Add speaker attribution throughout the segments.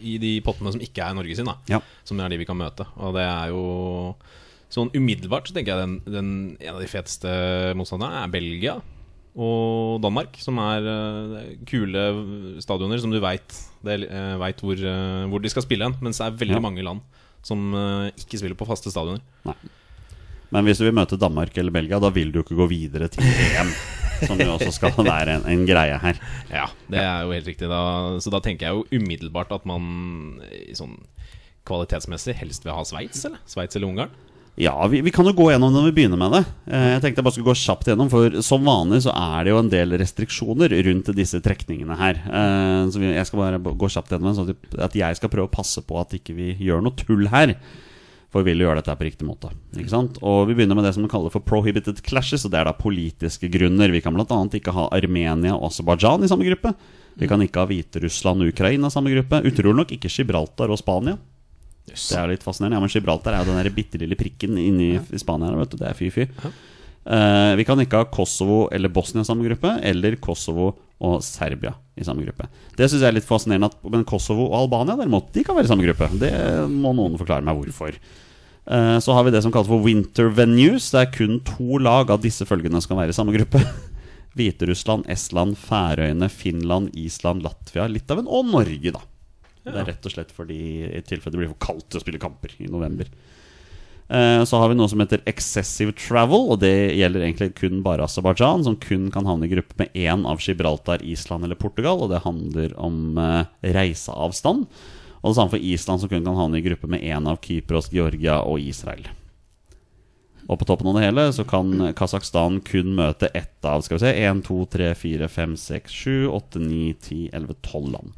Speaker 1: i de pottene som ikke er Norge sin, da.
Speaker 2: Ja.
Speaker 1: Som er de vi kan møte. Og det er jo Sånn umiddelbart så tenker jeg den, den en av de feteste motstanderne er Belgia og Danmark. Som er eh, kule stadioner som du veit vet hvor, eh, hvor de skal spille hen. Mens det er veldig
Speaker 2: Ja.
Speaker 1: mange land som eh, ikke spiller på faste stadioner.
Speaker 2: Men hvis du vil møte Danmark eller Belgia, da vil du jo ikke gå videre til EM. Som jo også skal være en, en greie her.
Speaker 1: Ja, det er jo helt riktig. Da. Så da tenker jeg jo umiddelbart at man eh, sånn kvalitetsmessig helst vil ha Sveits, eller? Sveits eller Ungarn.
Speaker 2: Ja, vi, vi kan jo gå gjennom det når vi begynner med det. Eh, Jeg tenkte jeg bare skulle gå kjapt gjennom, for som vanlig så er det jo en del restriksjoner rundt disse trekningene her. Eh, Så vi- jeg skal bare gå kjapt gjennom det, sånn at vi- at jeg skal prøve å passe på at ikke vi gjør noe tull her. For vi vil jo gjøre dette her på riktig måte. Ikke sant? Og Vi begynner med det som vi kaller for prohibited clashes. og Det er da politiske grunner. Vi kan bl.a. ikke ha Armenia og Aserbajdsjan i samme gruppe. Vi kan ikke ha Hviterussland og Ukraina i samme gruppe. Utrolig nok ikke Gibraltar og Spania. Det er litt fascinerende. Ja, men Gibraltar er jo den der bitte lille prikken inni i Spania. her, Vet du. Det er fy-fy. Eh, vi kan ikke ha Kosovo eller Bosnia i samme gruppe, eller Kosovo og Serbia i samme gruppe. Det syns jeg er litt fascinerende. At, men Kosovo og Albania derimot, de kan være i samme gruppe. Det må noen forklare meg hvorfor. Eh, Så har vi det som kalles for winter venues. Det er kun to lag av disse følgende som kan være i samme gruppe. Hviterussland, Estland, Færøyene, Finland, Island, Latvia, Litauen og Norge, da. Det er rett og slett fordi i tilfelle det blir for kaldt til å spille kamper i november. Eh, Så har vi noe som heter excessive travel, og det gjelder egentlig kun bare Aserbajdsjan, som kun kan havne i gruppe med én av Gibraltar, Island eller Portugal, og det handler om eh, reiseavstand. Og det samme for Island, som kun kan havne i gruppe med én av Kypros, Georgia og Israel. Og på toppen av det hele så kan Kasakhstan kun møte ett av skal vi se, 1, 2, 3, 4, 5, 6, 7, 8, 9, 10, 11, 12 land.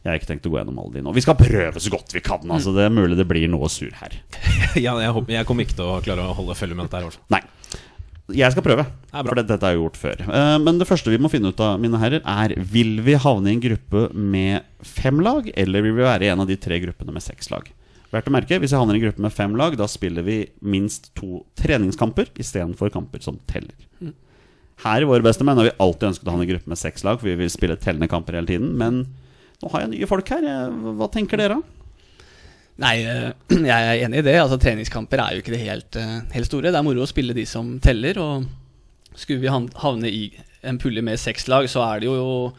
Speaker 2: Jeg har ikke tenkt å gå gjennom alle de nå. Vi skal prøve så godt vi kan. altså Det er mulig det blir noe sur her.
Speaker 1: Ja, jeg, håper, jeg kommer ikke til å klare å holde følge med dette her. i hvert fall.
Speaker 2: Nei. Jeg skal prøve,
Speaker 1: er bra.
Speaker 2: for det- dette er jo gjort før. Eh, Men det første vi må finne ut av, mine herrer, er vil vi havne i en gruppe med fem lag, eller vil vi være i en av de tre gruppene med seks lag? Verdt å merke, Hvis vi havner i en gruppe med fem lag, da spiller vi minst to treningskamper istedenfor kamper som teller. Her i Våre beste menn har vi alltid ønsket å havne i en gruppe med seks lag, for vi vil spille tellende kamper hele tiden. Men nå har jeg nye folk her. eh, Hva tenker dere? da?
Speaker 3: Nei, eh, jeg er enig i det. Altså Treningskamper er jo ikke det helt, eh, helt store. Det er moro å spille de som teller. Og skulle vi han- havne i en pulje med seks lag, så er det jo,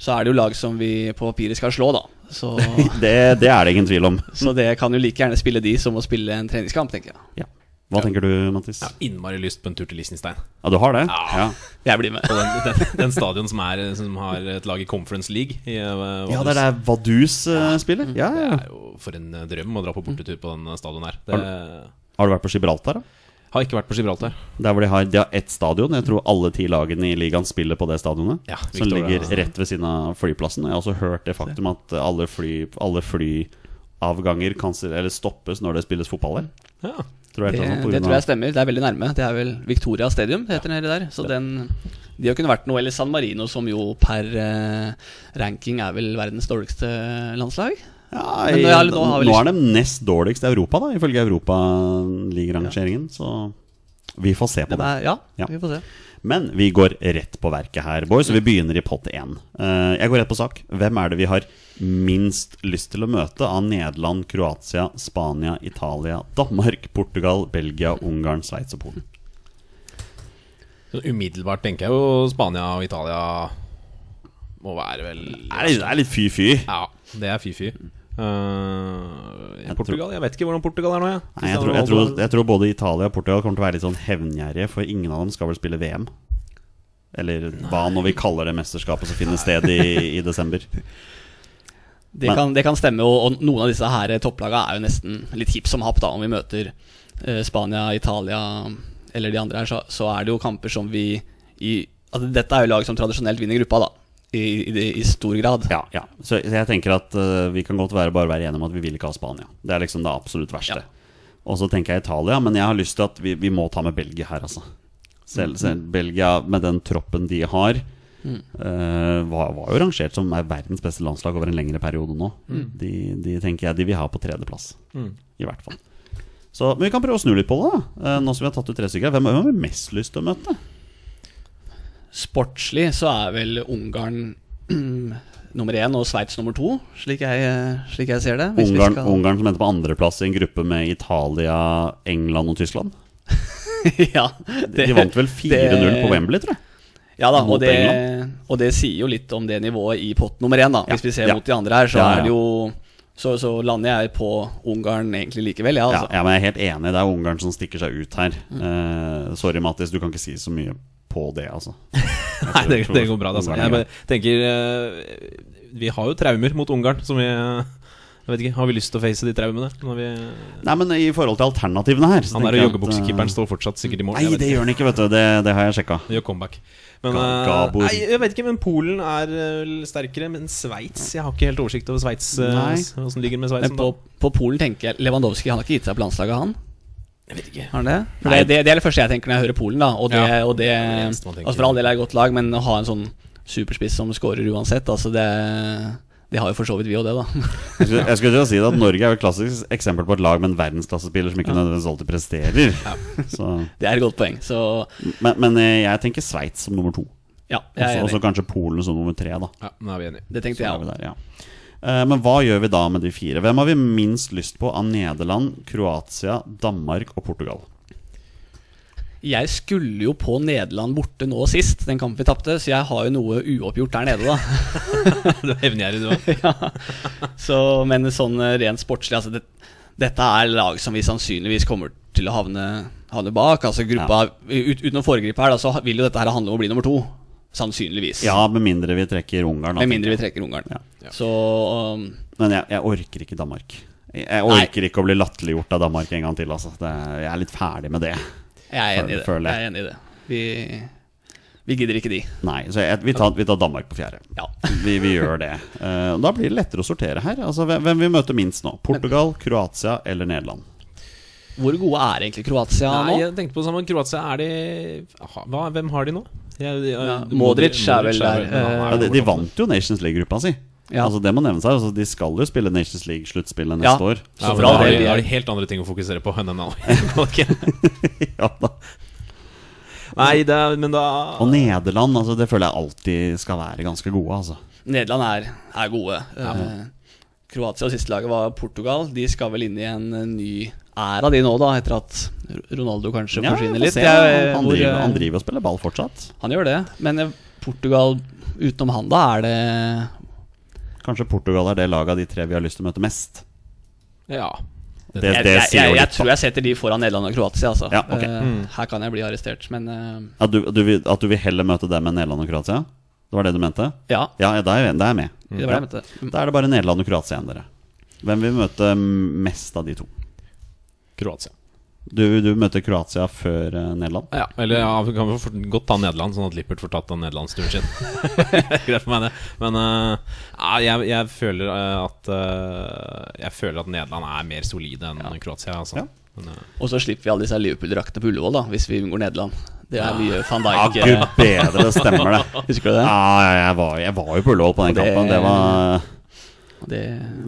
Speaker 3: så er det jo lag som vi på papiret skal slå, da. Så,
Speaker 2: Det, det er det ingen tvil om.
Speaker 3: så det kan jo like gjerne spille de som å spille en treningskamp, tenker jeg.
Speaker 2: Ja. Hva tenker du, Mattis?
Speaker 1: Jeg har innmari lyst på en tur til Liechtenstein.
Speaker 2: Ja, du har det?
Speaker 1: Ja.
Speaker 2: ja.
Speaker 3: Jeg blir med.
Speaker 1: På den, den, den stadion som, er, som har et lag i Conference League. I, eh,
Speaker 2: Ja, det er der Vadus eh, spiller? Ja,
Speaker 1: Det
Speaker 2: ja.
Speaker 1: er jo for en eh, drøm å dra på bortetur på den eh, stadion her. Det
Speaker 2: Har du vært på Gibraltar, da?
Speaker 1: har ikke vært på Gibraltar.
Speaker 2: Der hvor de har, de har ett stadion. Jeg tror alle ti lagene i ligaen spiller på det stadionet.
Speaker 1: Ja,
Speaker 2: som
Speaker 1: Victoria,
Speaker 2: ligger
Speaker 1: altså.
Speaker 2: rett ved siden av flyplassen. Jeg har også hørt det faktum at alle, fly, alle flyavganger kansel- eller stoppes når det spilles fotball her.
Speaker 1: Ja.
Speaker 2: Tror jeg,
Speaker 3: Det,
Speaker 2: det, sånn, på
Speaker 3: det
Speaker 2: grunn
Speaker 3: tror jeg
Speaker 2: av,
Speaker 3: stemmer. Det er veldig nærme. Det er vel Victoria Stadium det heter nede der. Så den De har kunne vært noe. Eller San Marino, som jo per eh, ranking er vel verdens dårligste landslag.
Speaker 2: ja,
Speaker 3: Men
Speaker 2: i,
Speaker 3: nå er-
Speaker 2: nå,
Speaker 3: nå har vi
Speaker 2: er de nest dårligst i Europa, da ifølge Europaligarangeringen. Så vi får se på
Speaker 3: Den
Speaker 2: det.
Speaker 3: er, ja,
Speaker 2: Ja.
Speaker 3: vi får se.
Speaker 2: Men vi går rett på verket her, boys, så vi begynner i pott 1. jeg går rett på sak. Hvem er det vi har minst lyst til å møte av Nederland, Kroatia, Spania, Italia, Danmark, Portugal, Belgia, Ungarn, Sveits og Polen?
Speaker 1: Så umiddelbart tenker jeg jo Spania og Italia må være vel
Speaker 2: Det er litt- det er litt fy-fy.
Speaker 1: Ja, det er fy-fy. Eh,
Speaker 2: Jeg
Speaker 1: Portugal? Jeg vet ikke hvordan Portugal er nå, jeg.
Speaker 2: Nei, jeg, tror, jeg, tror, jeg tror både Italia og Portugal kommer til å være litt sånn hevngjerrige, for ingen av dem skal vel spille VM. Eller hva nå vi kaller det mesterskapet som finner sted i, i desember.
Speaker 3: Det
Speaker 2: Men-
Speaker 3: kan, det kan stemme, og, og noen av disse her topplaga er jo nesten litt hipp som happ, da. Om vi møter eh, Spania, Italia eller de andre her, så, så er det jo kamper som vi i altså, Dette er jo lag som tradisjonelt vinner gruppa, da. I, i, i stor grad.
Speaker 2: Ja, ja. Så, så jeg tenker at eh, vi kan godt være, bare være enige om at vi vil ikke ha Spania. Det er liksom det absolutt verste. Og så tenker jeg Italia, men jeg har lyst til at vi, vi må ta med Belgia her, altså. Selv,
Speaker 3: Mm.
Speaker 2: selv Belgia, med den troppen de har, eh, var, var jo rangert som er verdens beste landslag over en lengre periode nå.
Speaker 3: Mm.
Speaker 2: De, de tenker jeg de vil ha på tredjeplass, i hvert fall. Så, men vi kan prøve å snu litt på det. da Eh, Nå som vi har tatt ut tre stykker. Hvem hvem har vi mest lyst til å møte?
Speaker 3: Sportslig så er vel Ungarn nummer én og Sveits nummer to, slik jeg, eh, slik jeg ser det. hvis vi
Speaker 2: Ungarn,
Speaker 3: skal-
Speaker 2: Ungarn som endte på andreplass i en gruppe med Italia, England og Tyskland?
Speaker 3: ja, det,
Speaker 2: De vant vel 4-0 på Wembley, tror jeg.
Speaker 3: Ja da,
Speaker 2: mot
Speaker 3: og det,
Speaker 2: England.
Speaker 3: og det sier jo litt om det nivået i pott nummer én, da. Hvis vi ser
Speaker 2: ja.
Speaker 3: mot de andre her, så
Speaker 2: Ja, ja.
Speaker 3: er det jo så, så lander jeg på Ungarn egentlig likevel,
Speaker 2: Ja,
Speaker 3: ja, altså.
Speaker 2: ja, men Jeg er helt enig. Det er Ungarn som stikker seg ut her. Eh, sorry, Mattis, du kan ikke si så mye på det, altså.
Speaker 1: Nei, det, det går bra. det, Altså.
Speaker 2: Ungarn
Speaker 1: Jeg
Speaker 2: er
Speaker 1: bare tenker eh, Vi har jo traumer mot Ungarn, som vi eh, jeg vet ikke, Har vi lyst til å face de traumene? Når vi,
Speaker 2: Nei, men I forhold til alternativene her så
Speaker 1: han
Speaker 2: tenker
Speaker 1: der
Speaker 2: jeg at,
Speaker 1: joggebuksekeeperen
Speaker 2: eh,
Speaker 1: står fortsatt sikkert i mål.
Speaker 2: Nei,
Speaker 1: jeg vet
Speaker 2: det
Speaker 1: ikke.
Speaker 2: gjør han ikke, vet du. Det, det har jeg sjekka.
Speaker 1: Gjør comeback. Men,
Speaker 2: Ga-
Speaker 1: eh,
Speaker 2: Gabor.
Speaker 1: nei, jeg vet ikke, men Polen er eh, vel sterkere. Men Sveits Jeg har ikke helt oversikt over Sveits. eh,
Speaker 2: Nei.
Speaker 1: Åssen ligger det med Sveits?
Speaker 3: Men
Speaker 1: om
Speaker 3: på,
Speaker 1: dagen.
Speaker 3: på Polen tenker jeg Lewandowski han har ikke gitt seg på landslaget, han?
Speaker 1: Jeg vet ikke.
Speaker 3: Har han det? For
Speaker 2: Nei.
Speaker 3: det, det, det er det første jeg tenker når jeg hører Polen, da. Og det,
Speaker 1: Ja,
Speaker 3: og det,
Speaker 1: det er det eneste man tenker.
Speaker 3: altså For all del er det et godt lag, men å ha en sånn superspiss som scorer uansett, altså det Det har jo for så vidt vi og det, da.
Speaker 2: Jeg skulle, jeg skulle til å si det at Norge er jo et klassisk eksempel på et lag med en verdensklassespiller som ikke nødvendigvis alltid presterer. Så,
Speaker 3: Det er et godt poeng. Så
Speaker 2: men, men eh, jeg tenker Sveits som nummer to.
Speaker 3: ja, jeg er
Speaker 2: Og
Speaker 3: enig.
Speaker 2: så kanskje Polen som nummer tre, da.
Speaker 1: Ja, nå er vi enige.
Speaker 3: Det tenkte
Speaker 2: Så
Speaker 3: jeg
Speaker 2: er
Speaker 3: òg.
Speaker 2: vi der, ja. Eh, Men hva gjør vi da med de fire? Hvem har vi minst lyst på av Nederland, Kroatia, Danmark og Portugal?
Speaker 3: Jeg skulle jo på Nederland borte nå sist, den kampen vi tapte, så jeg har jo noe uoppgjort der nede, da.
Speaker 1: Du er hevngjerrig, du òg.
Speaker 3: Så, men sånn eh, rent sportslig, altså det, Dette er lag som vi sannsynligvis kommer til å havne, havne bak. Altså gruppa ut, Uten å foregripe her, da, så vil jo dette her handle om å bli nummer to. Sannsynligvis.
Speaker 2: Ja, med mindre vi trekker Ungarn. da,
Speaker 3: Med mindre vi
Speaker 2: tenker jeg.
Speaker 3: trekker Ungarn.
Speaker 2: Ja.
Speaker 3: Så um,
Speaker 2: Men jeg, jeg orker ikke Danmark. Jeg orker ikke å bli latterliggjort av Danmark en gang til. Altså. Det, jeg er litt ferdig med det.
Speaker 3: Jeg er enig i det.
Speaker 2: Føler jeg.
Speaker 3: Jeg er enig i det. Vi, vi gidder ikke de.
Speaker 2: Nei, så jeg, vi, tar, vi tar Danmark på fjerde.
Speaker 3: Ja.
Speaker 2: Vi, vi gjør det. Eh, og da blir det lettere å sortere her. Altså, hvem, hvem vi møter minst nå? Portugal, Kroatia eller Nederland?
Speaker 3: Hvor gode er egentlig Kroatia
Speaker 1: Nei,
Speaker 3: nå?
Speaker 1: jeg tenkte på det samme. Kroatia, er de ha- hva, Hvem har de nå? Jeg, jeg,
Speaker 3: Ja, Modric er vel der, Eh,
Speaker 1: ja, han
Speaker 2: Ja,
Speaker 1: er
Speaker 2: de,
Speaker 1: jo
Speaker 2: de
Speaker 1: borte.
Speaker 2: vant jo Nations League-gruppa si.
Speaker 3: Ja.
Speaker 2: Altså, det må nevnes her. Altså, de skal jo spille Nations League-sluttspillet
Speaker 3: Ja.
Speaker 2: neste år.
Speaker 1: Ja,
Speaker 3: Så
Speaker 1: men
Speaker 3: bra
Speaker 1: da har
Speaker 3: det
Speaker 1: de,
Speaker 3: vi
Speaker 1: da
Speaker 3: er.
Speaker 1: har de helt andre ting å fokusere på enn NNA.
Speaker 2: ja, da.
Speaker 1: Nei, det er, men da
Speaker 2: Og Nederland altså, det føler jeg alltid skal være ganske gode. Altså.
Speaker 3: Nederland er, er gode. Eh, Kroatia og siste laget var Portugal. De skal vel inn i en eh, ny æra, de nå, da, etter at Ronaldo kanskje
Speaker 2: Ja, vi
Speaker 3: forsvinner
Speaker 2: får
Speaker 3: litt.
Speaker 2: se.
Speaker 3: Jeg-
Speaker 2: han,
Speaker 3: hvor,
Speaker 2: driver,
Speaker 3: eh,
Speaker 2: han driver og spiller ball fortsatt.
Speaker 3: han gjør det. Men eh, Portugal utenom han, da, er det
Speaker 2: Kanskje Portugal er det laget av de tre vi har lyst til å møte mest.
Speaker 1: Ja.
Speaker 2: Det,
Speaker 3: Jeg,
Speaker 2: det
Speaker 3: jeg,
Speaker 2: sier
Speaker 3: jeg,
Speaker 2: jo
Speaker 3: jeg
Speaker 2: litt.
Speaker 3: tror jeg setter de foran Nederland og Kroatia, altså.
Speaker 2: Ja, ok.
Speaker 3: Eh, Her kan jeg bli arrestert, men eh,
Speaker 2: At du, du, vil- at du vil heller møte dem enn Nederland og Kroatia? Det var det du mente?
Speaker 3: ja.
Speaker 2: Ja, ja, da er jeg, da er jeg med.
Speaker 3: Det var det jeg mente.
Speaker 2: Da er det bare Nederland og Kroatia igjen, dere. Hvem vil møte mest av de to?
Speaker 1: Kroatia.
Speaker 2: Du, du møter Kroatia før eh, Nederland?
Speaker 1: Ja, eller ja, vi kan fort- godt ta Nederland, sånn at Lippert får tatt den nederlandsturen sin. Greit for meg, det. Men eh, ja, jeg, jeg føler eh, at eh, Jeg føler at Nederland er mer solide enn Kroatia. Altså.
Speaker 2: Ja.
Speaker 1: Men, eh,
Speaker 3: Og så slipper vi alle disse Liverpool-draktene på Ullevål, da, hvis vi unngår Nederland. Det er mye van
Speaker 2: Ja,
Speaker 3: Dijk.
Speaker 2: Ah,
Speaker 3: eh,
Speaker 2: gud bedre, det stemmer det.
Speaker 3: Husker du det?
Speaker 2: Ja, ja, jeg var, jeg var jo på Ullevål på den
Speaker 3: Og det-
Speaker 2: kampen. Det var,
Speaker 3: det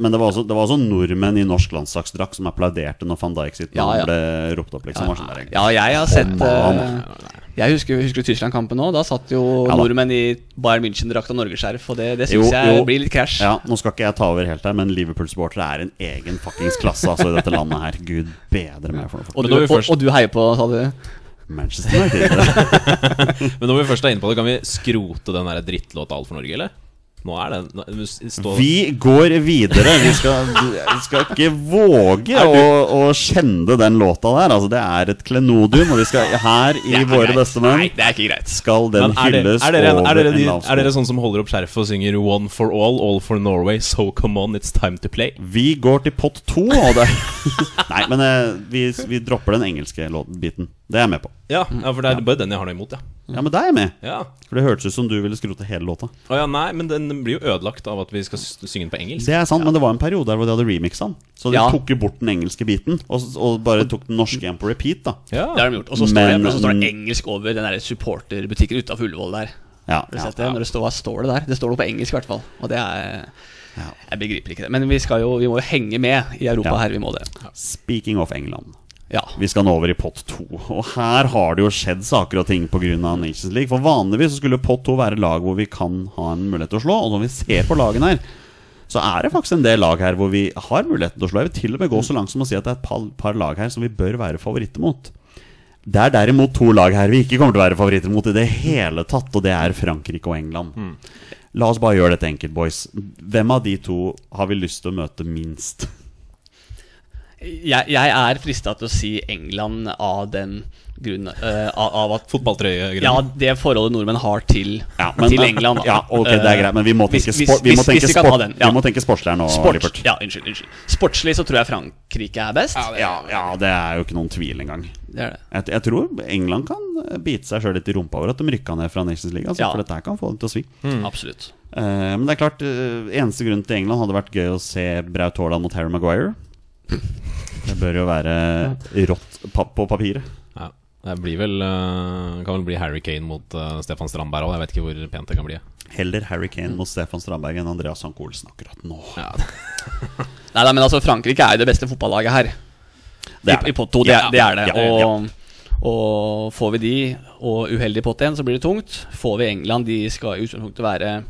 Speaker 2: men det var, også, det var også nordmenn i norsk landslagsdrakt som applauderte når van Dijk sitt
Speaker 3: Ja,
Speaker 2: navn
Speaker 3: ja.
Speaker 2: ble ropt opp. liksom Var sånn der,
Speaker 3: Ja, jeg har sett
Speaker 2: Kom
Speaker 3: eh, Jeg husker, husker Tyskland-kampen nå. Da satt jo
Speaker 2: Ja da.
Speaker 3: nordmenn i Bayern München-drakt og norgesskjerf, og det, det
Speaker 2: Jo,
Speaker 3: syns
Speaker 2: jo.
Speaker 3: jeg blir litt krasj.
Speaker 2: Ja, Nå skal ikke jeg ta over helt her, men Liverpool-supportere er en egen fuckings klasse altså, i dette landet her. Gud bedre meg for noe.
Speaker 3: Og,
Speaker 1: Men
Speaker 3: du,
Speaker 1: når vi
Speaker 3: og,
Speaker 1: først-
Speaker 3: og du heier på, sa du?
Speaker 2: Manchester United.
Speaker 1: men når vi først er inne på det, kan vi skrote den der drittlåta Alt for Norge, eller? Nå er den nå- vi står-
Speaker 2: Vi går videre. Vi skal, vi skal ikke våge å, å skjende den låta der. Altså, det er et klenodium, og vi skal her i Våre beste menn
Speaker 3: det er ikke greit.
Speaker 2: skal den
Speaker 1: Men er dere,
Speaker 2: hylles
Speaker 1: er, dere, er,
Speaker 2: over
Speaker 1: dere de,
Speaker 2: en
Speaker 1: er dere
Speaker 2: lavskål.
Speaker 1: sånn som holder opp skjerfet og synger One for all, all for Norway, so come on, it's time to play?
Speaker 2: Vi går til pott to. Og det Nei, men eh, vi, vi dropper den engelske låten- biten. Det er jeg med på.
Speaker 1: Ja, Mm. ja for det er bare den jeg har noe imot, ja.
Speaker 2: Ja, men da er jeg med.
Speaker 1: ja.
Speaker 2: For det hørtes ut som du ville skrote hele låta.
Speaker 1: Å ja, nei, men den blir jo ødelagt av at vi skal s- synge den på engelsk.
Speaker 2: Det er sant, men det var en periode der hvor de hadde remixa den. Så de
Speaker 3: Ja.
Speaker 2: tok jo bort den engelske biten, og, og bare tok den norske igjen på repeat, da.
Speaker 1: Ja.
Speaker 3: Det har de gjort. Og så står, det-
Speaker 2: Men-
Speaker 3: og så står det engelsk over den der supporterbutikken utafor Ullevål der.
Speaker 2: Ja,
Speaker 3: Har du
Speaker 2: ja,
Speaker 3: sett det? Når det står, hva står det der? Det står noe på engelsk i hvert fall. Og det er
Speaker 2: ja.
Speaker 3: Jeg begriper ikke det. Men vi, skal jo, vi må jo henge med i Europa
Speaker 2: Ja.
Speaker 3: her. Vi må det.
Speaker 2: Speaking of England.
Speaker 3: Ja.
Speaker 2: Vi skal nå over i pott to. Og her har det jo skjedd saker og ting pga. Nations League. For vanligvis så skulle pott to være lag hvor vi kan ha en mulighet til å slå. Og når vi ser på lagene her, så er det faktisk en del lag her hvor vi har muligheten til å slå. Jeg vil til og med gå så langt som å si at det er et par, par lag her som vi bør være favoritter mot. Det er derimot to lag her vi ikke kommer til å være favoritter mot i det hele tatt, og det er Frankrike og England. La oss bare gjøre dette enkelt, boys. Hvem av de to har vi lyst til å møte minst?
Speaker 3: Jeg, jeg er frista til å si England av den grunn eh, av, av at
Speaker 1: Fotballtrøyegreier.
Speaker 3: Ja, det forholdet nordmenn har til,
Speaker 2: Ja, men-
Speaker 3: til England. da.
Speaker 2: Ja, ok, det er
Speaker 3: Eh,
Speaker 2: greit, men vi må
Speaker 3: hvis-
Speaker 2: tenke,
Speaker 3: hvis-
Speaker 2: sport, vi må
Speaker 3: hvis-
Speaker 2: tenke,
Speaker 3: hvis vi kan
Speaker 2: sport,
Speaker 3: ha den, ja.
Speaker 2: vi må tenke sportslig her nå, Lippert.
Speaker 3: Sport, ja, unnskyld, unnskyld. Sportslig så tror jeg Frankrike er best.
Speaker 2: Ja, ja, det er jo ikke noen tvil engang.
Speaker 3: Det er det.
Speaker 2: Jeg, jeg tror England kan eh, bite seg sjøl litt i rumpa over at de rykka ned fra Nations League. Altså,
Speaker 3: Ja.
Speaker 2: For dette her kan få dem til å svi.
Speaker 3: Absolutt.
Speaker 2: Eh, men det er klart, eh, eneste grunnen til England hadde vært gøy å se Braut Haaland mot Harry Maguire. Det bør jo være rått pa på papiret.
Speaker 1: Ja. Det blir vel eh, Kan vel bli Harry Kane mot eh, Stefan Strandberg òg. Jeg vet ikke hvor pent det kan bli.
Speaker 2: Heller Harry Kane mot Stefan Strandberg enn Andreas Sank Olsen akkurat nå.
Speaker 1: Ja.
Speaker 3: Nei, nei, men altså, Frankrike er jo det beste fotballaget her.
Speaker 2: Det
Speaker 3: I,
Speaker 2: er
Speaker 3: i pott to, det,
Speaker 2: Ja,
Speaker 3: er- det er det.
Speaker 2: ja, ja.
Speaker 3: Og, og får vi de, og uheldig pott én, så blir det tungt. Får vi England, de skal i utgangspunktet være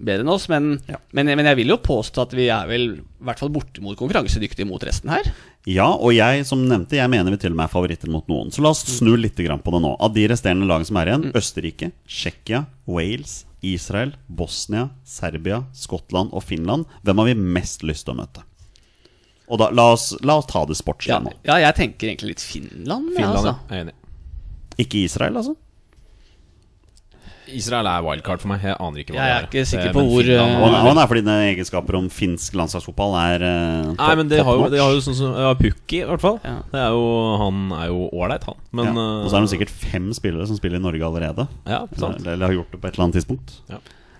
Speaker 3: bedre enn oss. Men,
Speaker 2: Ja.
Speaker 3: men, men jeg vil jo påstå at vi er vel i hvert fall bortimot konkurransedyktige mot resten her.
Speaker 2: Ja, og jeg som nevnte, jeg mener vi til og med er favoritter mot noen. Så la
Speaker 1: Mm.
Speaker 2: oss snu litt grann på det nå. Av de resterende lagene som er igjen, Østerrike, Tsjekkia, Wales, Israel, Bosnia, Serbia, Skottland og Finland, hvem har vi mest lyst til å møte? Og da, la oss, la oss ta det sportslige
Speaker 3: Ja,
Speaker 2: nå.
Speaker 3: ja jeg tenker egentlig litt Finland. altså. ja,
Speaker 1: Finland, ja.
Speaker 3: altså.
Speaker 1: Jeg er enig.
Speaker 2: Ikke Israel, altså?
Speaker 1: Israel er wildcard for meg. Jeg aner ikke hva
Speaker 3: Jeg er
Speaker 1: det
Speaker 3: ikke sikker
Speaker 1: Eh,
Speaker 3: på
Speaker 1: men
Speaker 3: hvor,
Speaker 2: Og
Speaker 1: Finland-
Speaker 2: han, og han er fordi dine egenskaper om finsk landslagsfotball er eh, top,
Speaker 1: Nei, men de har, jo,
Speaker 2: top
Speaker 1: de har
Speaker 2: notch.
Speaker 1: jo sånn som ja, Pukki, i hvert fall.
Speaker 3: Ja.
Speaker 1: Det er jo, han er jo ålreit, han. Men
Speaker 2: ja. Og så er det sikkert fem spillere som spiller i Norge allerede.
Speaker 1: eh, Ja, sant.
Speaker 2: Eller, eller har gjort det på et eller annet tidspunkt.
Speaker 3: Nei,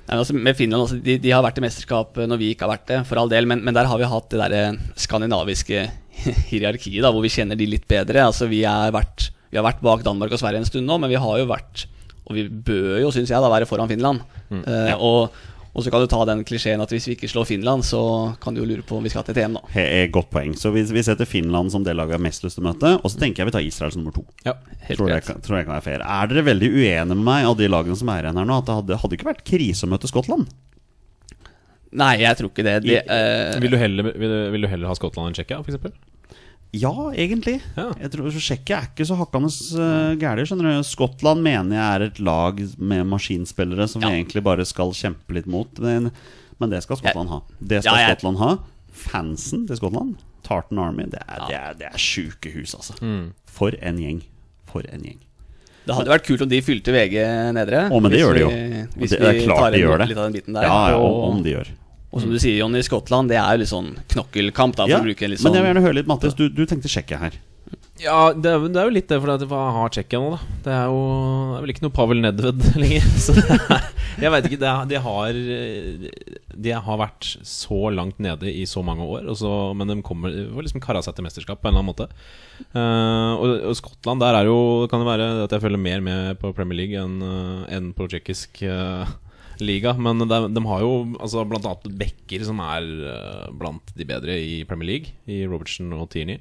Speaker 3: men altså, med Finland, altså, de, de har vært i mesterskap eh, når vi ikke har vært det, for all del. Men, men der har vi hatt det derre skandinaviske hierarkiet, da, hvor vi kjenner de litt bedre. Altså, vi, er vært, vi har vært bak Danmark og Sverige en stund nå, men vi har jo vært Og vi bør jo, syns jeg, da, være foran Finland. Eh, og, og så kan du ta den klisjeen at hvis vi ikke slår Finland, så kan du jo lure på om vi skal til et EM, da.
Speaker 2: He, he, godt poeng. Så vi, vi setter Finland som det laget jeg har mest lyst til å møte. Og så tenker jeg vi tar Israel som nummer to.
Speaker 1: Ja.
Speaker 3: Helt
Speaker 2: Tror jeg,
Speaker 3: greit.
Speaker 2: kan- tror jeg kan være fair. Er dere veldig uenige med meg av de lagene som er igjen her nå? At det hadde, hadde ikke vært krise å møte Skottland?
Speaker 3: Nei, jeg tror ikke det. De, eh,
Speaker 1: Vil, du heller, vil, du, vil du heller ha Skottland enn Tsjekkia, f.eks.?
Speaker 2: Ja, egentlig.
Speaker 1: Ja.
Speaker 2: Jeg tror Tsjekkia er ikke så hakkende uh, gæli. skjønner du. Skottland mener jeg er et lag med maskinspillere som vi egentlig bare skal kjempe litt mot. Men, men det skal Skottland ha. Det skal
Speaker 3: Ja, jeg-
Speaker 2: Skottland ha. Fansen til Skottland, Tartan Army, det er, det er, det er sjuke hus, altså.
Speaker 3: Mm.
Speaker 2: For en gjeng. For en gjeng.
Speaker 3: Det hadde vært kult om de fylte VG nedre.
Speaker 2: Å, men det
Speaker 3: hvis
Speaker 2: gjør de jo.
Speaker 3: vi-
Speaker 2: Og
Speaker 3: Hvis
Speaker 2: det er
Speaker 3: vi
Speaker 2: klart
Speaker 3: tar
Speaker 2: de
Speaker 3: en-
Speaker 2: gjør det.
Speaker 3: litt av den biten der.
Speaker 2: Ja, ja,
Speaker 3: og-
Speaker 2: om de gjør.
Speaker 3: Og som du sier, Jonny, Skottland, det er jo litt sånn knokkelkamp, da, for
Speaker 2: Mm. Ja,
Speaker 3: å bruke en litt
Speaker 2: Men
Speaker 3: sånn
Speaker 2: jeg vil gjerne høre litt, Mattis. Du, du tenkte Tsjekkia her.
Speaker 1: Ja, det er, det er jo litt det, for det, er- hva har Tsjekkia nå, da? Det er jo det er vel ikke noe Pavel Nedved lenger. Så det er, jeg veit ikke. Det er, de, har, eh, de har vært så langt nede i så mange år, og så, men de kommer de får liksom kara seg til mesterskap på en eller annen måte. Eh, og, og Skottland, der er jo kan det være at jeg følger mer med på Premier League enn eh, enn på tsjekkisk eh, liga, men de, de har jo altså, blant annet Becker, som er eh, blant de bedre i Premier League, i Robertson og Tierney.